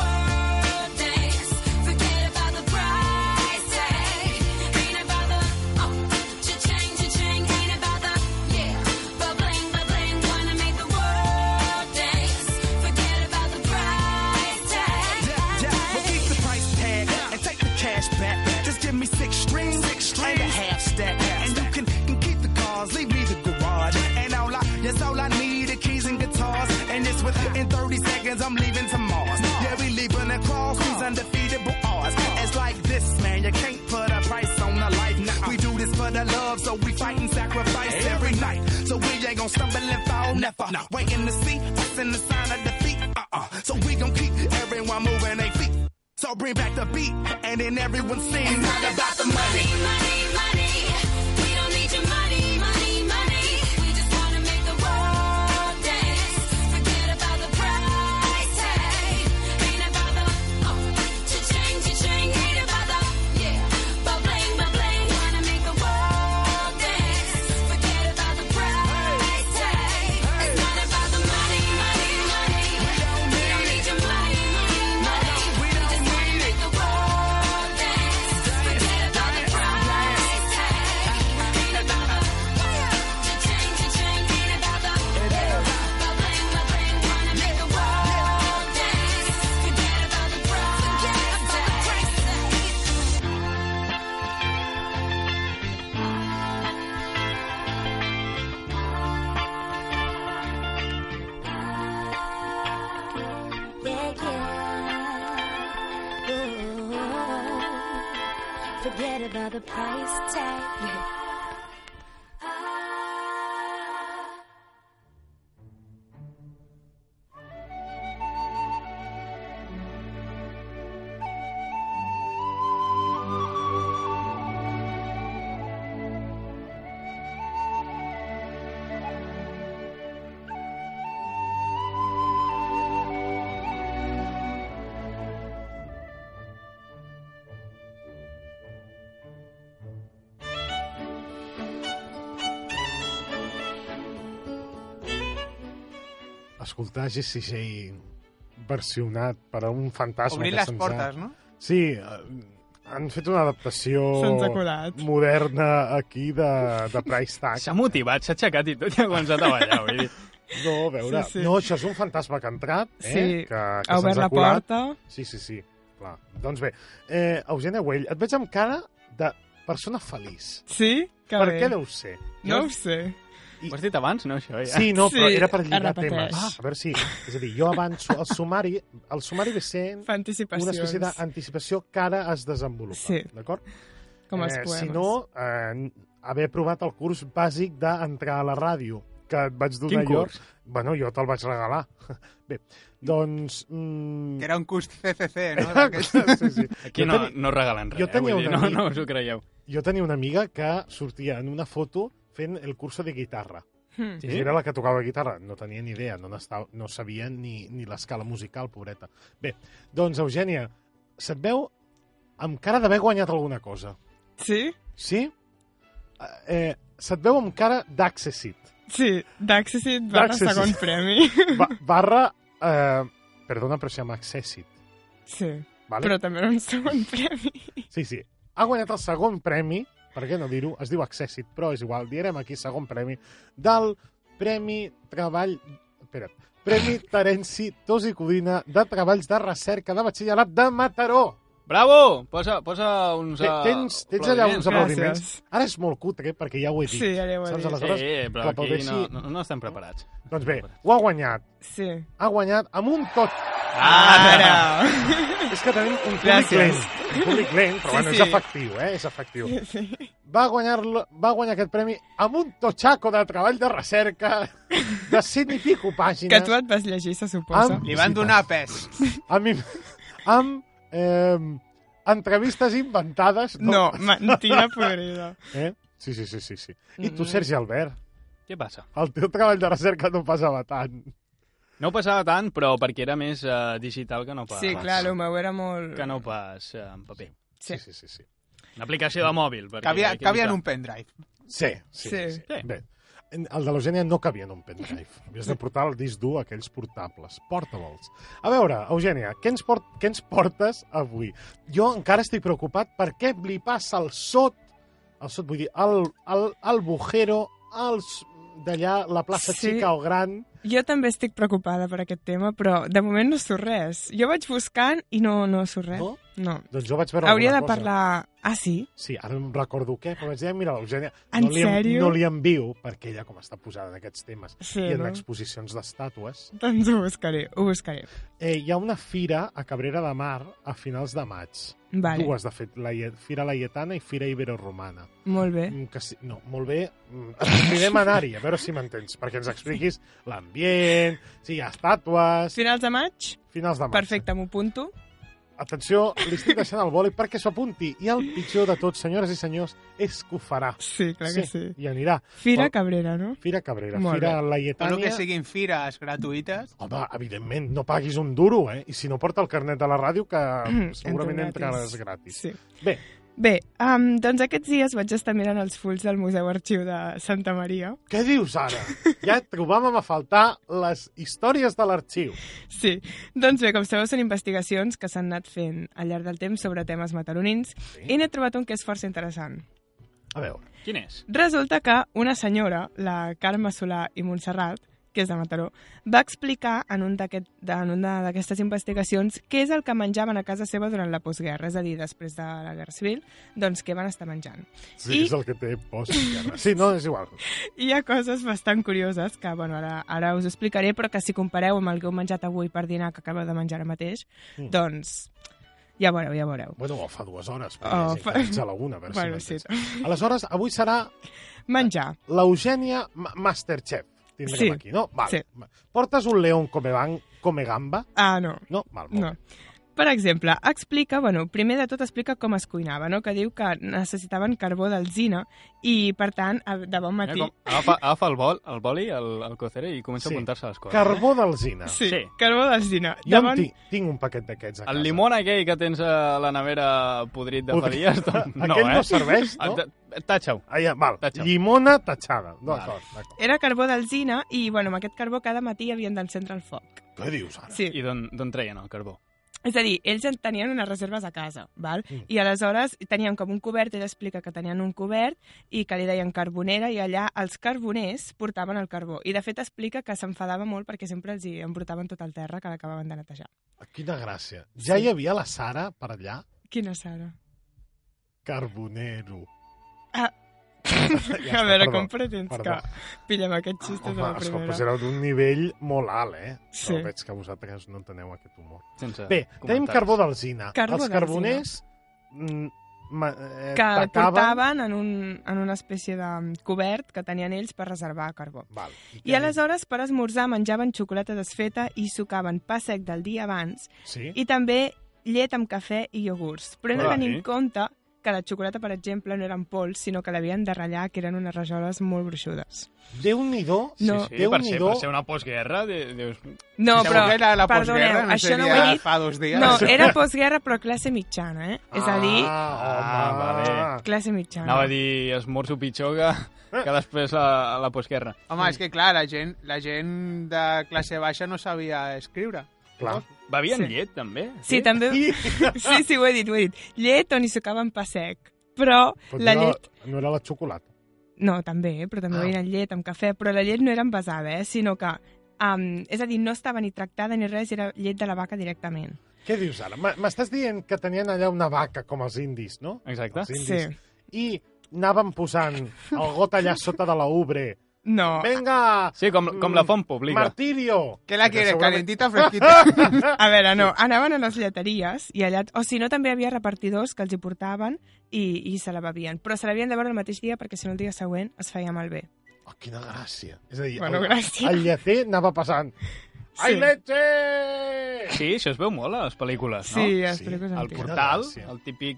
G: and a half stack. And you can, can keep the cars, leave me the garage. And all I, yes, all I need are keys and guitars. And it's within 30 seconds, I'm leaving to Mars. Yeah, we leaving across these undefeatable odds. It's like this, man, you can't put a price on a life. Nah, we do this for the love, so we fight and sacrifice every night. So we ain't gonna stumble and fall, never. Waiting to see us in the sign of defeat. Uh-uh. So we gonna keep everyone moving their feet. So bring back the beat, and then everyone sing. It's not about the money.
F: Money, money, we don't need your money, money, money. We just wanna make the world dance. Forget about the price tag. Ain't about the oh, cha-ching, cha-ching. Ain't about the yeah, but bling, but bling. Wanna make the world dance. Forget about the price tag. It's not about the money, money, money. We don't need your money, money, money. We just wanna make the world dance. Forget about the price tag. Ain't about the cha-ching, cha-ching. Ain't about the yeah, but bling, but bling. Wanna make the world dance. Forget about the price tag. Forget about the price tag.
A: Escoltar Jesse J versionat per a un fantasma
D: Obrir
A: que
D: les
A: se'ns ha-
D: portes, no?
A: Sí, eh, han fet una adaptació
C: Se'ns ha colat.
A: moderna aquí de, de Price Tag.
B: S'ha motivat, s'ha aixecat i tot i ha començat a ballar. Vull
A: [laughs]
B: dir.
A: No, a veure...
C: Sí, sí.
A: No, això és un fantasma que ha entrat, eh?
C: Sí,
A: que, que
C: ha obert
A: se'ns
C: la
A: colat.
C: porta.
A: Sí, sí, sí, clar. Doncs bé, eh, Eugènia Güell, et veig amb cara de persona feliç.
C: Sí? Que
A: per
C: bé.
A: què deu ser?
C: No ho sé.
B: Ho has dit abans, no, això? Ja.
A: Sí, no,
C: Sí,
A: sí, però era per lligar
C: es repeteix.
A: temes. Ah, a veure si... És a dir, jo avanço el sumari... El sumari ve sent
C: Fa anticipacions.
A: una espècie d'anticipació que ara es desenvolupa,
C: Sí.
A: d'acord? Eh,
C: Com els poemes.
A: si no, eh, haver provat el curs bàsic d'entrar a la ràdio, que et vaig donar
B: Quin
A: jo.
B: curs?
A: Bueno, jo te'l vaig regalar. [laughs] Bé, doncs... Mm...
D: Que
A: [laughs]
D: era un curs CCC,
B: [laughs]
D: no? D'aquests.
A: sí, sí.
B: Aquí
A: Jo
B: no,
A: tenia-
B: no regalen res.
A: jo tenia
B: eh? Vull dir,
A: un
B: no,
A: amic-
B: no us ho creieu.
A: Jo tenia una amiga que sortia en una foto fent el curso de guitarra.
C: Hm.
A: Sí? Era la que tocava guitarra. No tenia ni idea, no, n'estava- no sabia ni, ni l'escala musical, pobreta. Bé, doncs, Eugènia, se't veu amb cara d'haver guanyat alguna cosa.
C: Sí?
A: Sí? Eh, se't veu amb cara d'Accessit.
C: Sí, d'Accessit va al
A: D'Accessit.
C: segon premi. [laughs]
A: Ba barra... Eh, perdona, però si amb Accessit.
C: Sí,
A: Vale?
C: però també era un segon premi.
A: Sí, sí. Ha guanyat el segon premi, per què no dir-ho? Es diu Accessit, però és igual, direm aquí segon premi, del Premi Treball... Espera.
C: [laughs]
A: Premi Terenci Tos i Codina de Treballs de Recerca de Batxillerat de Mataró.
B: Bravo! Posa, posa uns...
A: Te-
B: eh,
A: Tens, tens allà
B: aplaudiments.
A: uns aplaudiments.
C: Gràcies.
A: Ara és molt cutre, eh, perquè ja ho he dit.
C: Sí, ja ho he
A: Saps?
C: dit.
A: Aleshores,
B: Sí, però aquí
A: l'aplaudeixi-
B: no, no, no estem preparats.
A: Doncs bé, ho ha guanyat.
C: Sí.
A: Ha guanyat amb un tot.
B: Ah, [laughs]
C: Ara!
A: És que tenim un públic
C: Gràcies.
A: lent. Un públic lent, però
C: Sí,
A: bueno,
C: sí.
A: és efectiu, eh? És
C: [laughs]
A: efectiu.
C: Sí.
A: va guanyar, va guanyar aquest premi amb un totxaco de treball de recerca
C: [laughs]
A: de 100 i pico pàgines.
C: Que tu et vas llegir, se suposa.
A: Amb-
D: Li van donar pes.
A: Amb, im- amb eh, entrevistes inventades.
C: No, [laughs] mentida Mm. podrida.
A: [laughs] Eh? Sí, sí, sí, sí, sí. I tu, Sergi Albert,
B: Què passa?
A: el teu treball de recerca no passava tant.
B: No passava tant, però perquè era més eh, digital que no pas...
C: Sí, clar, el meu era molt...
B: Que no pas eh, en paper.
C: Sí.
A: sí, sí. Sí,
B: Una aplicació de mòbil. perquè
D: Cabia,
B: aquí
D: cabia
B: no-
D: en un pendrive.
A: sí, sí. sí,
C: Sí.
A: sí. Bé, el de l'Eugènia no cabia en un pendrive. Havies de portar el disc dur, aquells portables, portables. A veure, Eugènia, què ens, port què ens portes avui? Jo encara estic preocupat per què li passa al sot, al sot vull dir, al, al, al bujero, als d'allà la plaça
C: Sí.
A: sí. xica o gran.
C: Jo també estic preocupada per aquest tema, però de moment no surt res. Jo vaig buscant i no, no surt res.
A: No?
C: No.
A: Doncs jo vaig veure
C: Hauria de
A: alguna cosa.
C: parlar... Ah, sí?
A: Sí, ara no em recordo què, però vaig dir, mira, l'Eugènia...
C: En
A: no li, en-
C: sèrio?
A: No li envio, perquè ella com està posada en aquests temes
C: Sí,
A: i en
C: no?
A: exposicions d'estàtues.
C: Doncs ho buscaré, ho buscaré.
A: Eh, hi ha una fira a Cabrera de Mar a finals de maig.
C: Vale,
A: Dues, de fet, la Ie- Fira Laietana i Fira Ibero-Romana.
C: molt bé.
A: Mm, Que sí, no, molt bé, mm, [laughs] et convidem a anar-hi, a veure si m'entens, perquè ens expliquis l'ambient, si hi ha estàtues,
C: Finals de maig?
A: finals de maig.
C: Perfecte, m'ho punto.
A: Atenció, li estic deixant el boli perquè s'ho apunti. I el pitjor de tot, senyores i senyors, és que ho farà.
C: Sí, clar que sí.
A: I anirà.
C: Fira
A: Vol-
C: Cabrera, no?
A: Fira Cabrera,
C: Molt
A: Fira
D: Tot el
A: Laietània...
D: que siguin fires gratuïtes,
A: Home, evidentment, no paguis un duro, eh? I si no porta el carnet de la ràdio, que
C: [clears throat]
A: segurament
C: Entra gratis.
A: entraràs gratis.
C: Sí.
A: Bé,
C: Bé, um, doncs aquests dies vaig estar mirant els fulls del Museu Arxiu de Santa Maria.
A: què dius ara? Ja trobàvem a faltar les històries de l'arxiu.
C: Sí, doncs bé, com sabeu, són investigacions que s'han anat fent al llarg del temps sobre temes mataronins sí. i n'he trobat un que és força interessant.
A: A veure,
B: Quin és?
C: Resulta que una senyora, la Carme Solà i Montserrat, que és de Mataró, va explicar en un d'aquest- de- en una d'aquestes investigacions què és el que menjaven a casa seva durant la postguerra, és a dir, després de la Guerra Civil, doncs què van estar menjant.
A: sí,
C: I-
A: és el que té post Sí, no, és igual.
C: Hi ha coses bastant curioses que, bueno, ara, ara us explicaré, però que si compareu amb el que heu menjat avui per dinar que acabeu de menjar ara mateix,
A: Mm.
C: doncs ja veureu, ja veureu.
A: Bueno, o fa dues hores,
C: Oh,
A: perquè
C: fa-
A: oh, fa... alguna, a veure
C: Bueno,
A: si
C: sí.
A: m'entens. Aleshores, avui serà
C: Menjar.
A: l'Eugènia Ma- Masterchef. Tindrem
C: Sí.
A: aquí, no? Val.
C: Sí.
A: Portes un león come, van, come gamba?
C: Ah, no.
A: No? Val, molt
C: No.
A: bé.
C: Per exemple, explica, bueno, primer de tot explica com es cuinava, no? que diu que necessitaven carbó d'alzina i, per tant, a- de bon
B: Mira
C: matí...
B: Eh, com agafa, agafa el, bol, el boli, el, el cocere i comença a
A: Sí.
B: apuntar-se les coses.
A: Carbó d'alzina. Sí.
C: Sí,
B: Sí.
C: carbó d'alzina.
A: Jo
C: De
A: en
C: bon...
A: tinc, tinc un paquet d'aquests a casa.
B: El limón aquell que tens a la nevera podrit de fa
A: Podrit.
B: dies,
A: [laughs]
B: doncs, no,
A: Aquell
B: eh?
A: no serveix, no?
B: Ta- Tatxa-ho.
A: Ah, ja, val.
B: Tatxa.
A: Llimona tatxada. D'acord, d'acord.
C: Era carbó d'alzina i, bueno, amb aquest carbó cada matí havien d'encendre el foc.
A: Què dius ara?
C: Sí.
B: I d'on d'on treien el carbó?
C: És a dir, ells en tenien unes reserves a casa, val?
A: Mm.
C: I aleshores tenien com un cobert, ell explica que tenien un cobert i que li deien carbonera i allà els carboners portaven el carbó. I de fet explica que s'enfadava molt perquè sempre els hi emportaven tot el terra que l'acabaven de netejar.
A: Ah, Quina gràcia. Ja hi havia la Sara per allà?
C: Quina Sara.
A: Carbonero. [laughs]
C: Ah.
A: està,
C: a veure,
A: perdó,
C: com pretens
A: perdó.
C: que pillem aquest xist de
A: Home,
C: la
A: escolta,
C: primera?
A: pues era d'un nivell molt alt, eh?
C: Sí. Eh,
A: Però veig que vosaltres no enteneu aquest humor.
B: Sense
A: Bé, tenim
B: comentaris.
A: carbó d'alzina.
C: Carbó
A: Els
C: d'alzina.
A: carboners mm, ma- eh,
C: Que el
A: tacaven-
C: portaven en, un, en una espècie de cobert que tenien ells per reservar carbó.
A: Val.
C: I aleshores, per esmorzar, menjaven xocolata desfeta i sucaven pa sec del dia abans
A: Sí?
C: i també llet amb cafè i iogurts. Però hem de
B: Ah,
C: tenir en
B: sí?
C: compte que la xocolata, per exemple, no eren pols, sinó que l'havien de ratllar, que eren unes rajoles molt gruixudes.
A: Déu-n'hi-do.
B: Sí,
C: No. Ah.
B: sí,
A: Déu
B: per ser,
A: n'hi do.
B: per ser una postguerra, de, dius...
C: No,
D: segur
C: però,
D: que era la
C: perdoneu,
D: postguerra, no
C: això no ho
D: seria
C: he dit.
D: fa dos dies.
C: No, eh- era postguerra, però classe mitjana, eh? És a dir,
A: Ah, home,
B: Ah,
A: vale.
C: classe mitjana.
B: Anava a dir esmorzo pitjor que,
A: Eh.
B: que després a, a la postguerra.
D: Home, és que clar, la gent, la gent de classe baixa no sabia escriure.
A: Clar.
B: Bevien
C: Sí.
B: llet, també?
C: Sí, també...
A: I,
C: [laughs] Sí, sí, ho he dit, ho he dit. Llet on hi sucaven pa sec. Però
A: però
C: la
A: no, era-
C: llet...
A: no era la xocolata.
C: No, també, eh, però també
A: Ah.
C: ah. veien llet amb cafè. Però la llet no era envasada, eh? Sinó que... Um, és a dir, no estava ni tractada ni res, era llet de la vaca directament.
A: Què dius ara? M- M'estàs dient que tenien allà una vaca, com els indis, no?
B: Exacte.
A: Els
C: Sí.
A: indis. I anaven posant el got allà sota de la ubre.
C: No,
A: Venga,
B: Sí, com, com la font pública.
A: martirio!
D: Què la
A: Perquè
D: quiere,
A: segurament-
D: calentita o
A: [laughs]
D: fresquita?
C: a veure, no, anaven a les lleteries i allà... O si no, també hi havia repartidors que els hi portaven i, i se la bevien. Però se l'havien de veure el mateix dia perquè si no el dia següent es feia malbé.
A: Oh, quina gràcia. És a dir,
C: Bueno,
A: el,
C: gràcia.
A: el lleter anava passant. Ai,
C: Sí.
A: leche!
B: Sí, això es veu molt a les pel·lícules, no?
C: Sí,
A: Sí,
C: es pel·lícules
B: El
C: antigues.
A: Quina
B: portal,
A: gràcia.
B: el típic,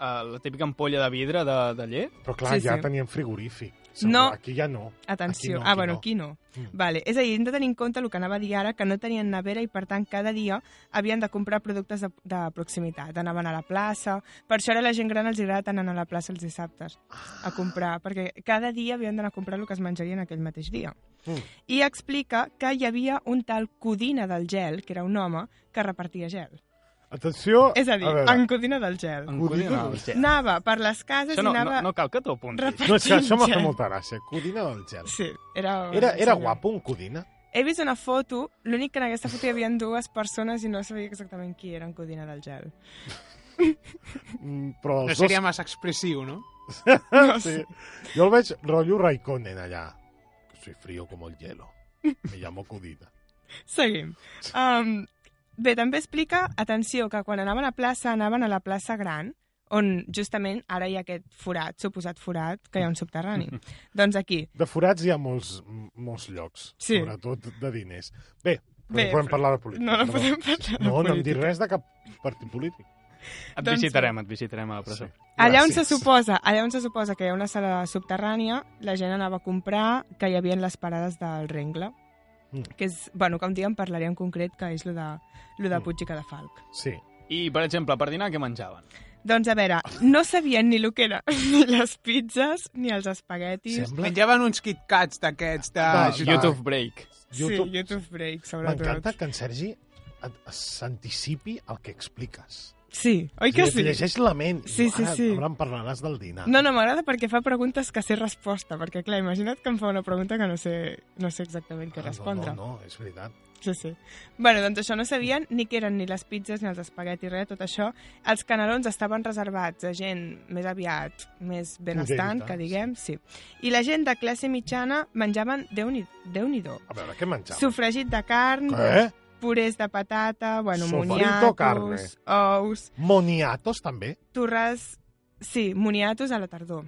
B: eh, la típica ampolla de vidre de, de llet.
A: Però clar,
C: Sí,
A: ja
C: sí.
A: tenien frigorífic.
C: No.
A: Aquí ja no.
C: Atenció.
A: Aquí no,
C: ah,
A: aquí
C: bueno,
A: no.
C: aquí no.
A: Mm.
C: Vale. És a dir, hem de tenir en compte el que anava a dir ara, que no tenien nevera i, per tant, cada dia havien de comprar productes de, de proximitat. Anaven a la plaça. Per això ara la gent gran els agrada tant anar a la plaça els dissabtes
A: Ah.
C: a comprar, perquè cada dia havien d'anar a comprar el que es menjarien aquell mateix dia.
A: Mm.
C: I explica que hi havia un tal Codina del Gel, que era un home, que repartia gel.
A: Atenció...
C: És a dir,
A: veure.
C: encodina del gel.
B: Encodina del gel.
C: Anava per les cases
B: Això no,
C: i anava...
B: no, no cal que t'ho apuntis.
C: Repartint
A: No, és que això m'ha
C: gel.
A: fet molta gràcia. Codina del gel.
C: Sí, era...
A: Era, era
C: sí,
A: guapo un Codina?
C: He vist una foto, l'únic que en aquesta foto hi havia dues persones i no sabia exactament qui era en Codina del Gel.
A: Mm, Però
D: No
A: els
D: seria massa expressiu, no?
A: dos... Ah, Sí. Jo el veig rotllo Raikkonen allà. Soy frío como el hielo. Me llamo Codina.
C: Seguim. Um, bé, també explica, atenció, que quan anaven a plaça, anaven a la plaça Gran, on justament ara hi ha aquest forat, suposat forat, que hi ha un subterrani.
A: [laughs]
C: doncs aquí.
A: De forats hi ha molts, m- molts llocs,
C: Sí.
A: sobretot de diners. Bé, però
C: Bé,
A: no podem
C: però-
A: parlar de política.
C: No, no podem parlar de
A: No, no hem dit
C: política.
A: res de cap partit polític.
B: Et
C: Doncs-
B: visitarem, et visitarem a la presó.
A: Sí.
C: Allà on, se
A: Gràcies.
C: suposa, allà on se suposa que hi ha una sala subterrània, la gent anava a comprar, que hi havia les parades del rengle,
A: Mm.
C: que és, bueno, que un dia en parlaré en concret, que és lo de, lo de
A: Mm.
C: Puig i Cadafalc.
A: Sí.
B: I, per exemple, per dinar, què menjaven?
C: Doncs a veure, no sabien ni el que era, ni [laughs] les pizzas, ni els espaguetis.
A: Sembla...
D: Menjaven uns Kit Kats d'aquests de...
A: Va,
D: Jut-
B: Ah, YouTube Break.
A: YouTube-
C: Sí, YouTube Break, sobretot.
A: M'encanta que en Sergi et- s'anticipi el que expliques.
C: Sí, oi
A: O
C: que
A: sigui, et
C: sí?
A: Llegeix la ment.
C: Sí, sí,
A: Ara-
C: sí.
A: Ara en parlaràs del dinar. Ah,
C: No, no, m'agrada perquè fa preguntes que sé resposta, perquè, clar, imagina't que em fa una pregunta que no sé, no sé exactament què
A: Ah,
C: respondre.
A: No, no, no, és veritat.
C: Sí, sí. Bueno, doncs això no sabien ni què eren ni les pizzas ni els espaguetis, res, tot això. Els canelons estaven reservats a gent més aviat, més benestant,
A: Pudenta,
C: que diguem, sí. I la gent de classe mitjana menjaven, déu-n'hi-do, déu nhi déu
A: A veure, què menjàvem?
C: sofregit de carn,
A: Què?
C: purés de patata, bueno,
A: Sofrito
C: moniatos, ous,
A: Moniatos, també?
C: torres... Sí, moniatos a la tardor.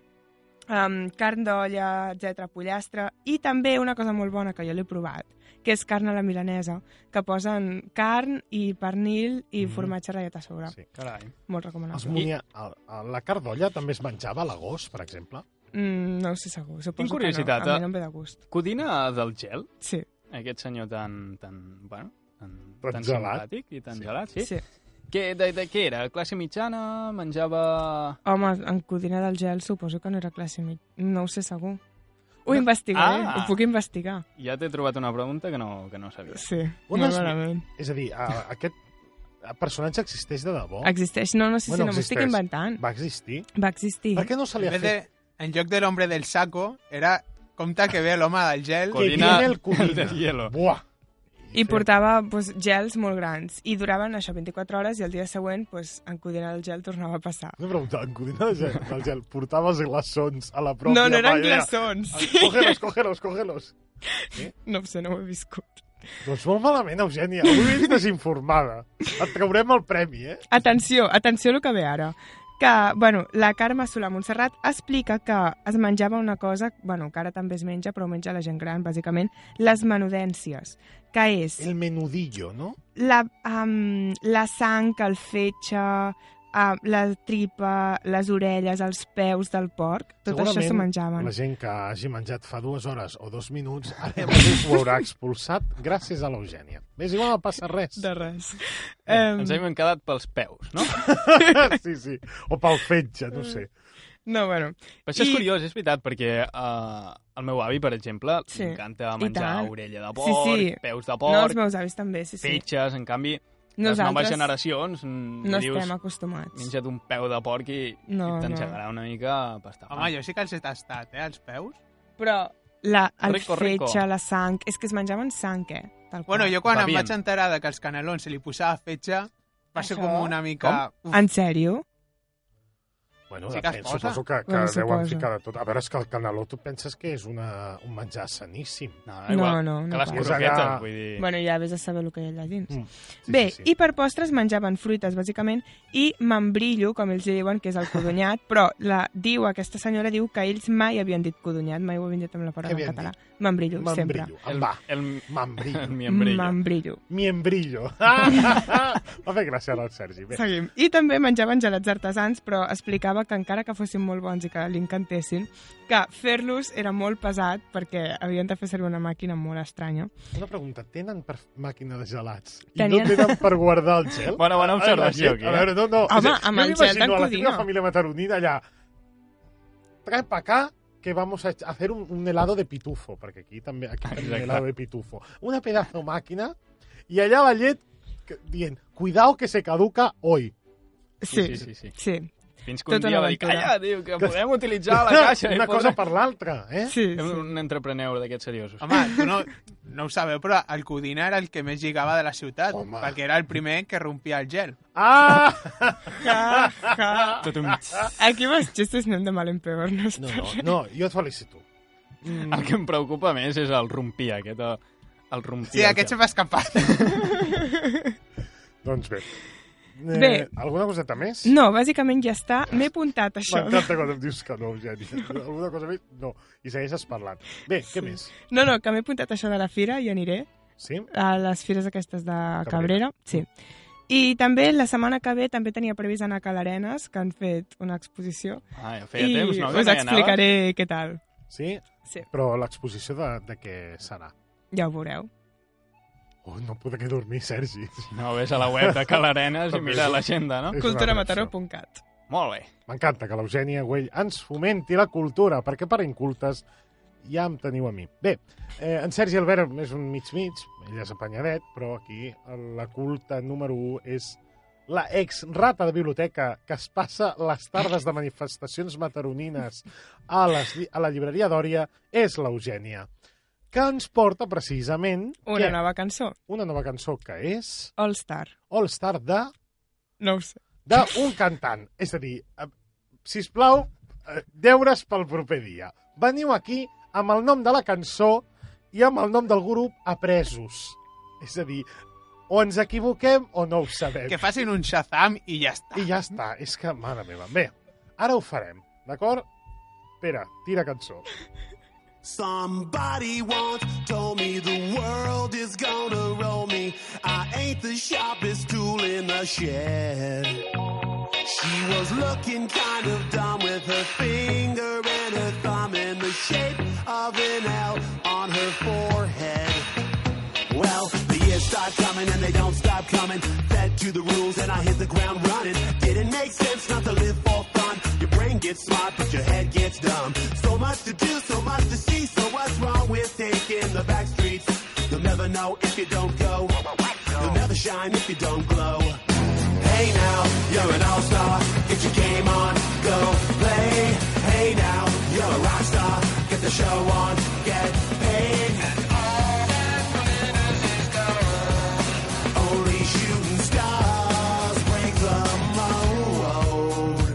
C: Um, carn d'olla, etc pollastre. I també una cosa molt bona que jo l'he provat, que és carn a la milanesa, que posen carn i pernil i
A: Mhm.
B: Mm-hmm.
C: formatge ratllat a sobre.
A: Sí.
B: Carai.
C: Molt
A: Els
C: recomanable.
A: monia... el- el- La cardolla també es menjava a l'agost, per exemple.
C: Mm, no ho sé segur, suposo
B: Tinc curiositat,
C: que no. A mi
B: eh?
C: no em ve de gust.
B: Codina del gel?
C: Sí,
B: Aquest senyor tan... tan bueno, tan,
A: Tan
B: tan
A: gelat.
B: simpàtic i tan
A: Sí.
B: gelat, sí?
C: sí. sí.
B: Què, de, de què era? Classe mitjana? Menjava...
C: Home, en Codina del Gel suposo que no era classe mig... No ho sé segur. Ho investigaré,
B: Ah!
C: ho puc investigar.
B: Ja t'he trobat una pregunta que no, que no sabia.
C: Sí,
A: On
C: molt
A: es-
C: malament.
A: És a dir, a, aquest personatge existeix de debò?
C: Existeix, no, no sé
A: Oh.
C: si no
A: Bueno,
C: m'ho estic
A: existeix.
C: inventant.
A: Va existir?
C: Va existir.
A: Per què no se li
D: En,
A: ha
D: vez
A: fet...
D: de, en lloc de l'hombre del saco, era compte que ve l'home del gel.
A: Que
B: Codina
A: viene el Codina.
B: del hielo.
A: Buah!
C: I portava pues, gels molt grans. I duraven això 24 hores i el dia següent pues, en Codina el gel tornava a passar.
A: Una pregunta, en Codina del gel, del gel portava els glaçons a la pròpia
C: no, no eren
A: paella.
C: glaçons.
A: Cógelos, cógelos, cógelos.
C: No ho sé, no ho he viscut.
A: Doncs molt malament, Eugènia. Avui ets desinformada. Et traurem el premi, eh?
C: Atenció, atenció al que ve ara. Que, bueno, la Carme Solà Montserrat explica que es menjava una cosa, bueno, que ara també es menja, però ho menja la gent gran, bàsicament, les menudències, que és...
A: El menudillo, no?
C: la, um, la sang, el fetge, uh, la tripa, les orelles, els peus del porc, tot això s'ho menjaven.
A: la gent que hagi menjat fa dues hores o dos minuts ara mateix ho haurà expulsat gràcies a l'Eugènia. És igual, no passa res.
C: De res.
B: Ens
C: Um,
B: hem quedat pels peus, no?
A: [laughs] Sí, sí. O pel fetge, no ho sé.
C: no, bueno,
B: Però això és
C: I-
B: curiós, és veritat, perquè uh, el meu avi, per exemple,
C: Sí.
B: sí. m'encanta
C: I
B: menjar
C: tant.
B: orella de
C: Sí,
B: porc, sí,
C: sí.
B: sí. peus de
C: no, els
B: porc, no,
C: meus avis també, sí, sí.
B: fetges, en canvi, les noves
C: Nosaltres
B: generacions, mm,
C: no
B: dius,
C: estem acostumats.
B: menja't un peu de porc i,
C: No,
B: i
C: no.
B: t'engegarà una mica pasta.
D: Home, jo sí que els he tastat, eh, els peus.
C: Però la, el
B: Rico, rico.
C: fetge, la sang... És que es menjaven sang, eh? Tal qual.
D: Bueno, jo quan em
B: Bevien.
D: vaig enterar de que els canelons se li posava fetge, va ser
C: Això?
D: com una mica... Uf,
C: En sèrio?
A: Bueno,
D: Sí que
A: depèn,
D: es posa.
A: suposo que, que
C: Bueno,
A: deuen
C: suposo.
A: ficar de tot. A veure, és que el caneló tu penses que és una, un menjar saníssim.
B: No,
C: No,
B: Ah, igual,
C: no, no
B: que les
A: cal.
B: croquetes,
A: Posarà-
B: vull dir...
C: Bueno, ja vés a saber el que hi ha allà dins.
A: Mm.
C: Bé, i per postres menjaven fruites, bàsicament, i membrillo, com ells diuen, que és el codonyat, però la diu, aquesta senyora diu que ells mai havien dit codonyat, mai ho havien dit amb la paraula
A: Què
C: en
A: havien
C: català. Membrillo, sempre.
A: Membrillo. Em va.
B: El, el,
A: Membrillo.
B: el miembrillo.
C: Membrillo.
A: Miembrillo. Va fer gràcia ara el Sergi. Bé.
C: Seguim. I també menjaven gelats artesans, però explicava que encara que fossin molt bons i que li encantessin, que fer-los era molt pesat perquè havien de fer servir una màquina molt estranya.
A: Una pregunta, tenen per màquina de gelats
C: Tenien-
A: i no tenen per guardar el gel?
B: Bona- bona observació,
A: Ai, la gent-
B: aquí, eh?
A: A veure, no, no.
C: Home,
A: O sigui,
C: amb
A: jo
C: el gel
A: m'imagino
C: d'en
A: a la
C: Codina.
A: teva família mataronina allà. Trae pa acá que vamos a ech- a hacer un, un helado de pitufo, perquè aquí també aquí tenim
B: Exacte.
A: helado de pitufo. Una pedazo màquina i allà la llet que- dient cuidao que se caduca hoy.
C: Sí,
B: sí, sí, sí.
C: sí.
B: Fins que un
C: Tota
B: dia
C: una
B: va dir,
C: aventura.
B: calla, tio, que podem
A: [laughs]
B: utilitzar la caixa. i
A: Una
B: podem-"
A: cosa per l'altra, eh?
C: sí,
B: Fem
C: sí.
B: un entrepreneur d'aquests seriosos.
D: Home, tu no, no ho sabeu, però el Codina era el que més lligava de la ciutat,
A: Home.
D: perquè era el primer que rompia el gel.
A: Ah!
C: Ja, ja.
B: Tot un... El
C: Aquí los chistes no han de mal en peor. No,
A: [laughs] No, no, no, jo et felicito.
B: que em preocupa més és el rompir, aquest... El, el rompir.
D: Sí, aquest se va escapar. [laughs]
A: Doncs bé. Eh,
C: Bé.
A: Alguna coseta més?
C: no bàsicament ja està. M'he apuntat això.
A: M'encanta quan em dius que no, Eugeni. [laughs] Alguna cosa més? No. I segueixes parlant. Bé, què més?
C: No, no, que m'he apuntat això de la fira i aniré
A: Sí?
C: a les fires aquestes de Cabrera. Sí.
A: Mm.
C: I també la setmana que ve també tenia previst anar a Calarenes, que han fet una exposició.
B: Ah, ja feia
C: I
B: temps, no? que
C: us
B: no hi
C: explicaré què tal.
A: Sí?
C: Sí.
A: Però l'exposició de, de què serà?
C: Ja ho veureu.
A: Oh, no podré dormir, Sergi.
B: anaves. No, ves a la web de [laughs] Calarenes i
A: També.
B: mira l'agenda, no?
A: És una atracció.
C: Culturamataró.cat
B: Molt bé.
A: M'encanta que l'Eugènia Güell ens fomenti la cultura, perquè per incultes ja em teniu a mi. Bé, eh, en Sergi Albert és un mig-mig, ell és apanyadet, però aquí la culta número 1 és la ex-rata de biblioteca que es passa les tardes de manifestacions mataronines a, les, lli- a la llibreria d'Òria és l'Eugènia, que ens porta precisament
C: Una
A: què?
C: nova cançó,
A: una nova cançó que és
C: All Star.
A: All Star de
C: No ho sé.
A: d'un cantant. És a dir, eh, sisplau, eh, deures pel proper dia. Veniu aquí amb el nom de la cançó i amb el nom del grup apresos. És a dir, o ens equivoquem o no ho sabem.
D: Que facin un Shazam i ja està.
A: I ja està. És que, mare meva. Bé, ara ho farem, d'acord? Pere, tira cançó.
H: Somebody once told me the world is gonna roll me. I ain't the sharpest tool in the shed. She was looking kind of dumb with her finger and her thumb in the shape of an L on her forehead. Well, the years start coming and they don't stop coming. Fed to the rules and I hit the ground running. Didn't make sense not to live for fun. Your brain gets smart, but your head gets dumb. So much to do, so much to see. So what's wrong with taking the back streets? You'll never know if you don't go. You'll never shine if you don't glow. Hey now, you're an all-star. Get your game on, go play. Hey now, you're a rock star. Get the show on, get paid. Only shooting stars break the mold.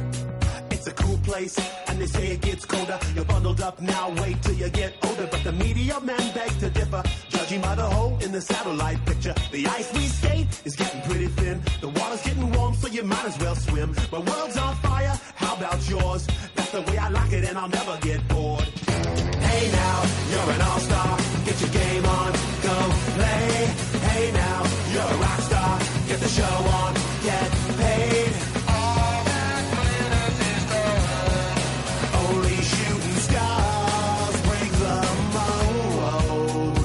H: It's a cool place, and they say it gets colder. You're bundled up now, wait till you get older. But the media men beg to differ, judging by the hole in the satellite picture. The ice we skate is getting pretty thin. The water's getting warm, so you might as well swim. My world's on fire, how about yours? That's the way I like it, and I'll never get bored. Hey now, you're an all-star. Get your game on, go play. Hey now, you're a rock star. Get the show on, get paid. All that glitters is gold. Only shooting stars break the mold.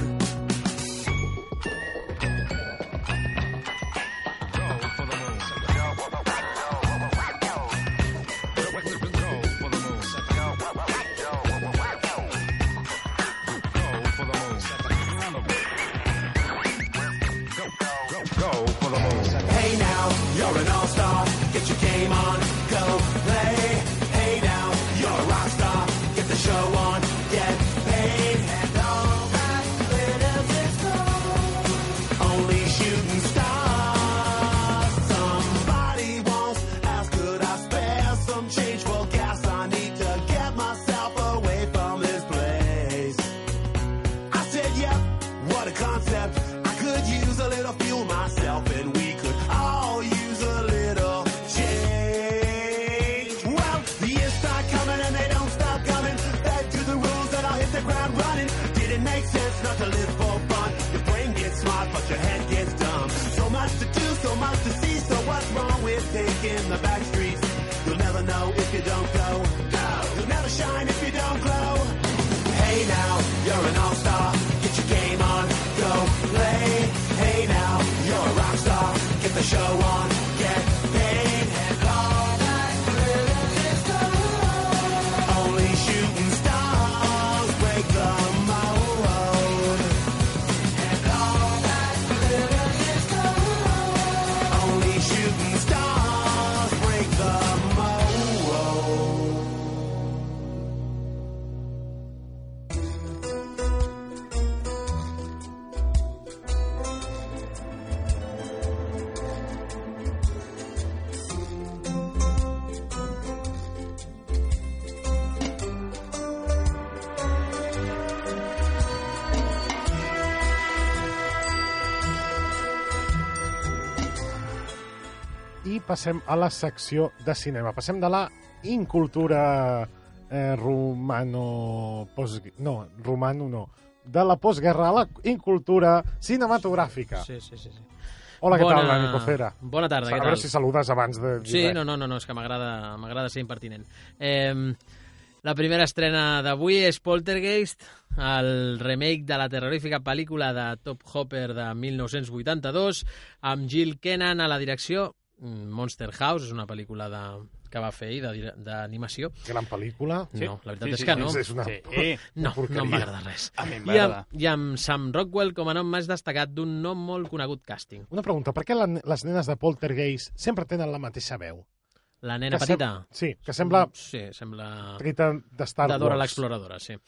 H: Hey now, you're an all-star. Get your game on, go play. Hey now, you're a rock star. Get the show on, get paid. And all that glitters is gold. Only shooting stars. Somebody once asked, could I spare some change for gas? I need to get myself away from this place. I said, yep, what a concept. I could use a little fuel myself, and we could all use a little change. Well, the years start coming and they don't stop coming. Back to the rules that I'll hit the ground running. Didn't make sense not to live for fun. Your brain gets smart, but your head gets dumb. So much to do, so much to see. So what's wrong with taking the back streets? You'll never know if you don't go. Go! You'll never shine if you don't glow. Hey now, you're an all-star. Get your game on, go play. Hey now, you're a rock star. Get the show on, get paid. And all that glitters is gold. Only shooting stars break the mold. And all that glitters is gold.
A: passem a la secció de cinema. Passem de la incultura eh, romano... Pos... No, romano no. De la postguerra a la incultura cinematogràfica.
I: Sí, sí, sí. sí.
A: Hola, què tal, Dani Cocera?
I: Bona tarda,
A: a
I: què
A: veure
I: tal?
A: si saludes abans de dir
I: Sí,
A: res.
I: no, no, no, no és que m'agrada m'agrada ser impertinent. Eh, la primera estrena d'avui és Poltergeist, el remake de la terrorífica pel·lícula de Top Hopper de 1982, amb Jill Kennan a la direcció. Mm, Monster House és una pel·lícula de, que va fer ell, de dir- d'animació.
A: Gran pel·lícula.
I: Sí. No, la veritat sí,
B: Sí, sí,
I: és que no.
A: És, és una...
B: Sí.
A: Sí.
I: No,
A: porqueria.
I: no m'agrada res.
B: Eh, A
I: I
B: mi m'agrada.
I: amb, I amb Sam Rockwell com a nom més destacat d'un nom molt conegut càsting.
A: Una pregunta, per què la, les nenes de Poltergeist sempre tenen la mateixa veu?
I: La nena
A: Que sem-
I: petita. Mm,
A: Sí, que sembla
I: Sí, sembla...
A: treta de Star
I: De
A: Wars.
I: Dora l'exploradora, sí.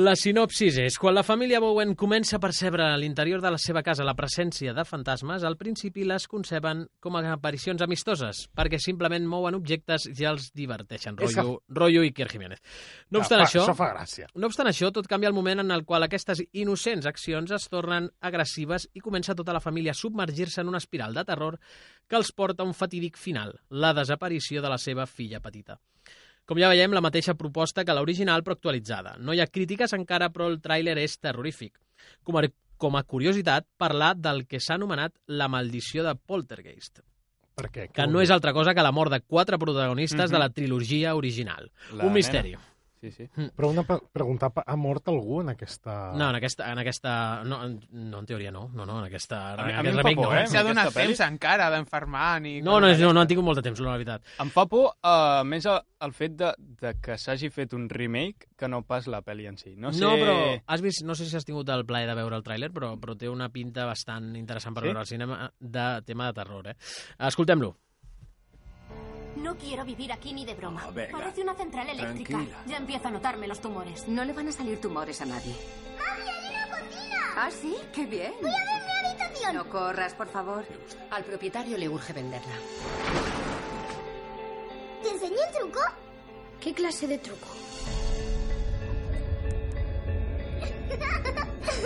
I: La sinopsis és, quan la família Bowen comença a percebre a l'interior de la seva casa la presència de fantasmes, al principi les conceben com a aparicions amistoses, perquè simplement mouen objectes i els diverteixen,
A: És que-
I: rotllo, rotllo Iker Jiménez. No obstant
A: Ah, fa-
I: això...
A: Això fa gràcia.
I: No obstant això, tot canvia el moment en el qual aquestes innocents accions es tornen agressives i comença tota la família a submergir-se en una espiral de terror que els porta a un fatídic final, la desaparició de la seva filla petita. Com ja veiem, la mateixa proposta que l'original, però actualitzada. No hi ha crítiques encara, però el tràiler és terrorífic. Com a, com a curiositat, parlar del que s'ha anomenat la maldició de Poltergeist,
A: Per què?
I: que no és altra cosa que la mort de quatre protagonistes de la trilogia original.
B: La
I: Un misteri.
B: Sí, sí.
A: Però una pre- pregunta, pa- ha mort algú en aquesta...
B: Ah.
I: No, en aquesta... En aquesta no, en, no, en teoria no. No, no, en aquesta...
B: mi-
I: en
B: a mi
I: aquest
B: em fa
I: remake
B: por,
I: no.
B: eh?
D: S'ha donat
B: Aquesta
D: temps encara d'enfermar ni...
I: No, no, és- no, no han tingut molt de temps, la veritat.
B: Em fa por, uh, més el, el fet de, de que s'hagi fet un remake que no pas la pel·li en si. No, sé...
I: no, però has vist, no sé si has tingut el plaer de veure el tràiler, però, però té una pinta bastant interessant per
B: Sí?
I: veure al cinema de tema de terror, eh? Escoltem-lo.
J: No quiero vivir aquí ni de broma.
E: Ah, Venga.
J: Parece una central eléctrica.
E: Tranquila.
J: Ya empiezo a notarme los tumores.
K: No le van a salir tumores a nadie. ¡Ah, sí! ¡Qué bien! ¡Voy a ver mi habitación! No corras, por favor. Al propietario le urge venderla.
J: ¿Te enseñé el truco?
K: ¿Qué clase de truco?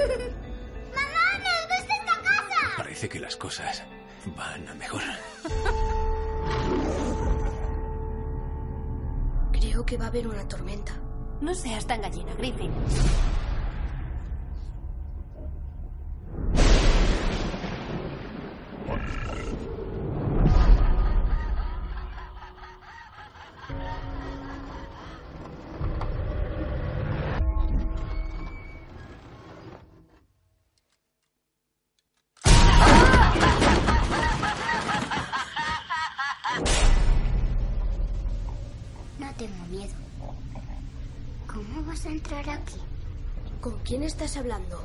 J: ¡Mamá, me gusta esta casa!
E: Parece que las cosas van a mejorar.
K: Creo que va a haber una tormenta.
J: No seas tan gallina, Griffin. No tengo miedo. ¿Cómo vas a entrar aquí? ¿Con quién estás hablando?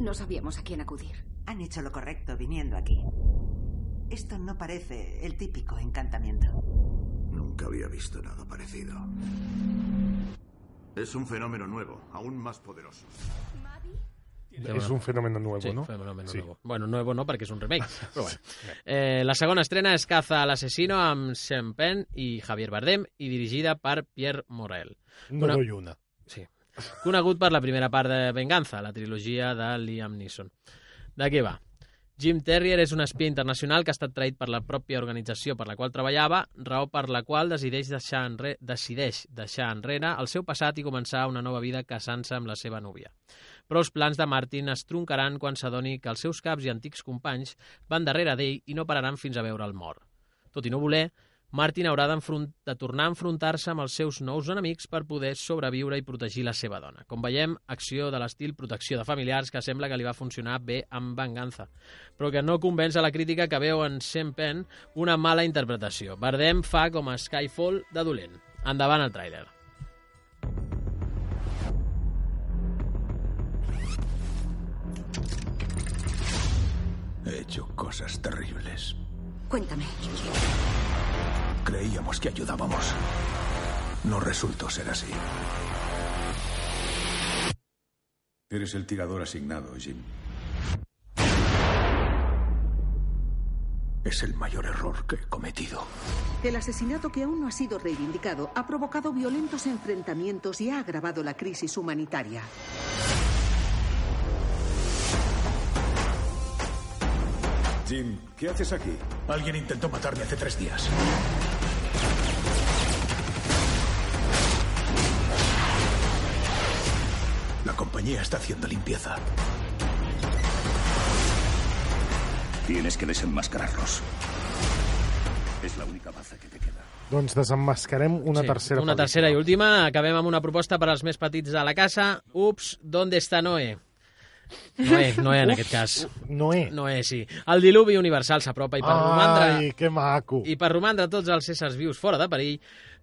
K: No sabíamos a quién acudir.
L: Han hecho lo correcto viniendo aquí. Esto no parece el típico encantamiento.
H: Nunca había visto nada parecido. Es un fenómeno nuevo, aún más poderoso.
A: És un fenomen nou,
I: Sí,
A: no?
I: fenomen
A: Sí.
I: nuevo. Bueno, nuevo no, perquè és un
B: [laughs]
I: remake. Però bueno. eh, la segona estrena és Caza a l'assassino amb Sean Penn i Javier Bardem i dirigida per Pierre Morel.
A: No
I: Una-
A: doy una.
I: Sí. Conegut per la primera part de Venganza, la trilogia de Liam Neeson. De què va? Jim Terrier és un espia internacional que ha estat traït per la pròpia organització per la qual treballava, raó per la qual decideix deixar, enre... decideix deixar enrere el seu passat i començar una nova vida casant-se amb la seva núvia. Però els plans de Martin es truncaran quan s'adoni que els seus caps i antics companys van darrere d'ell i no pararan fins a veure el mort. Tot i no voler, Martin haurà d'enfront- de tornar a enfrontar-se amb els seus nous enemics per poder sobreviure i protegir la seva dona. Com veiem, acció de l'estil protecció de familiars que sembla que li va funcionar bé amb venganza, però que no convenç a la crítica que veu en Sean Penn una mala interpretació. Bardem fa com a Skyfall de dolent. Endavant el tràiler.
E: He hecho cosas terribles.
K: Cuéntame.
E: Creíamos que ayudábamos. No resultó ser así.
M: Eres el tirador asignado, Jim. Es el mayor error que he cometido.
N: El asesinato que aún no ha sido reivindicado ha provocado violentos enfrentamientos y ha agravado la crisis humanitaria.
M: Jim, ¿qué haces aquí? Alguien intentó matarme hace tres días. La compañía está haciendo limpieza.
O: Tienes que desenmascararlos. Es la única baza que te queda.
A: Doncs desemmascarem una
I: Sí,
A: tercera
I: Una tercera i última. Acabem amb una proposta per als més petits de la casa. Ups, ¿dónde está Noé? Noé, Noé en
A: Ups,
I: aquest cas.
A: Noé.
I: Noé, sí. El diluvi universal s'apropa i per romandre...
A: Ai, que maco.
I: I per romandre tots els éssers vius fora de perill,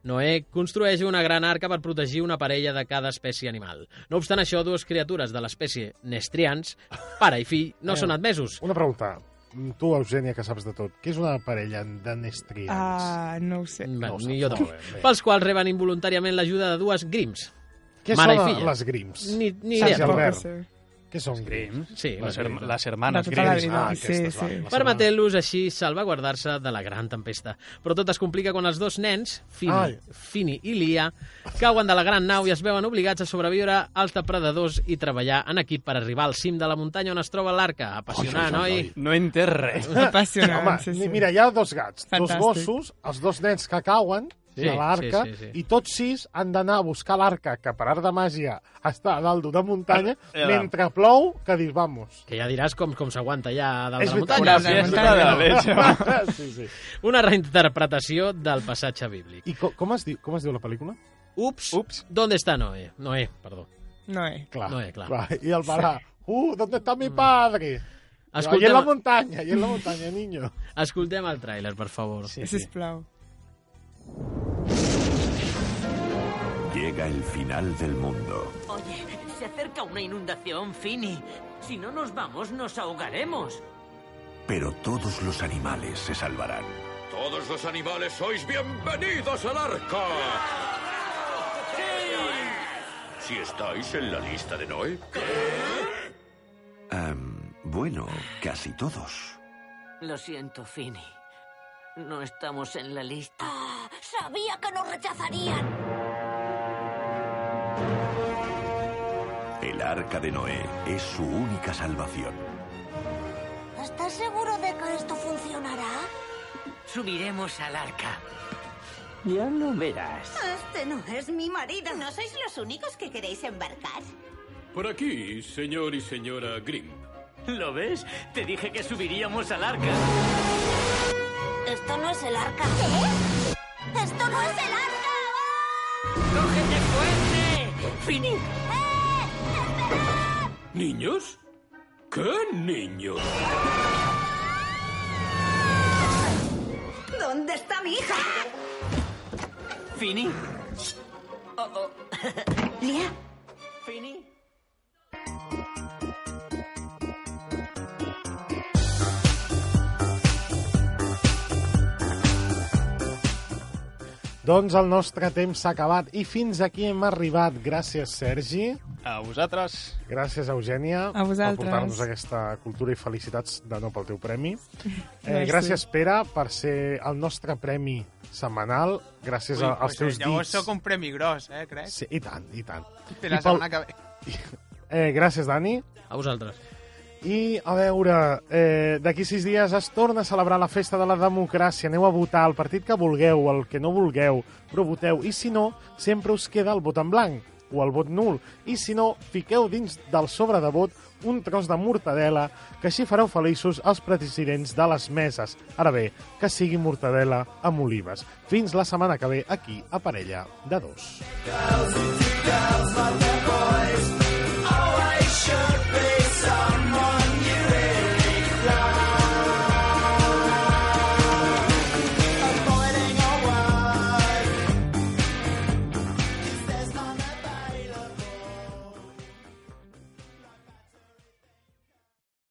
I: Noé construeix una gran arca per protegir una parella de cada espècie animal. No obstant això, dues criatures de l'espècie Nestrians, pare i fill, no
A: Eh,
I: són admesos.
A: Una pregunta. Mm, Tu, Eugènia, que saps de tot, què és una parella de nestrians?
C: Ah, no ho
A: Mm.
C: sé.
I: Bueno, ni jo
A: Molt
I: tampoc.
A: bé, bé.
I: Pels quals reben involuntàriament l'ajuda de dues grims.
A: Què
I: mare
A: són
I: i filla.
A: les grims?
I: Ni, ni
A: Saps,
I: idea.
A: Albert? Què són Ah, grims?
I: Sí,
B: les,
I: les
B: her
I: Grimm.
B: les hermanes
I: De tota la
B: Grimm.
I: vida, sí,
B: aquestes, va,
I: sí.
B: les hermanes.
I: Permetent-los així salvaguardar-se de la gran tempesta. Però tot es complica quan els dos nens, Fini,
B: Ai.
I: Fini i Lia, cauen de la gran nau i es veuen obligats a sobreviure als depredadors i treballar en equip per arribar al cim de la muntanya on es troba l'arca. Apassionant,
A: doncs, Oi, oi,
I: oi?
A: oi.
B: No entès res.
A: Home, ni- Mira, hi ha dos gats,
I: Fantàstic.
A: dos gossos, els dos nens que cauen
I: Sí,
A: de l'arca,
I: sí, sí, sí.
A: i tots sis han d'anar a buscar l'arca, que per art de màgia està a dalt
I: [laughs]
A: d'una muntanya,
I: Eh, eh,
A: mentre plou, que dius, vamos.
I: Que ja diràs com, com s'aguanta ja dalt
A: És
I: de la
A: veritat.
I: muntanya.
A: Una fiesta de leche. [laughs] Sí, sí.
I: Una reinterpretació del passatge bíblic.
A: I co com, es diu, com es diu la pel·lícula?
I: Ups, Ups. ¿dónde está Noé? Noé, perdó.
C: Noé.
A: Clar,
I: Noé, clar. Mm.
A: clar. I el pare, uh, ¿dónde está mi padre?
I: Escolta'm-
A: Ahí en la muntanya, ahí en la muntanya, niño.
I: Escoltem el tràiler, per favor.
A: Sí,
C: Sisplau.
P: Llega el final del mundo.
Q: Oye, se acerca una inundación, Fini. Si no nos vamos, nos ahogaremos.
P: Pero todos los animales se salvarán.
R: Todos los animales sois bienvenidos al arca. Si estáis en la lista de Noé.
P: Am, bueno, casi todos.
Q: Lo siento, Fini. No estamos en la lista.
J: Sabía que nos rechazarían.
P: El arca de Noé es su única salvación.
J: ¿Estás seguro de que esto funcionará?
Q: Subiremos al arca. Ya lo verás.
S: Este no es mi marido. No sois los únicos que queréis embarcar.
R: Por aquí, señor y señora Grimm.
Q: ¿Lo ves? Te dije que subiríamos al arca.
J: Esto no es el arca. ¿Qué? ¡Esto no es el arca!
Q: ¡Cógete fuerte! ¡Fini!
R: ¿Niños? ¿Qué niños?
S: ¿Dónde está mi hija?
Q: ¡Fini! Oh, oh.
S: Lía,
Q: ¡Fini!
A: Doncs el nostre temps s'ha acabat i fins aquí hem arribat. Gràcies, Sergi.
B: A vosaltres.
A: Gràcies, Eugènia,
B: A vosaltres.
A: per portar-nos aquesta cultura i felicitats de nou pel teu
B: [laughs]
A: premi. Eh,
B: Merci.
A: gràcies, Pere, per ser el nostre premi setmanal. Gràcies
D: Ui,
A: a, als
D: pues,
A: teus
D: llavors
A: dits.
D: sóc un premi gros, eh, crec.
A: Sí, i tant, i tant.
D: Té la
A: I pel-
D: setmana que ve.
A: Eh, gràcies, Dani.
I: A vosaltres.
A: I, a veure, eh, d'aquí sis dies es torna a celebrar la festa de la democràcia. Aneu a votar el partit que vulgueu, el que no vulgueu, però voteu. I si no, sempre us queda el vot en blanc o el vot nul. I si no, fiqueu dins del sobre de vot un tros de mortadela, que així fareu feliços els presidents de les meses. Ara bé, que sigui mortadela amb olives. Fins la setmana que ve aquí, a Parella de Dos.
G: Girls like that.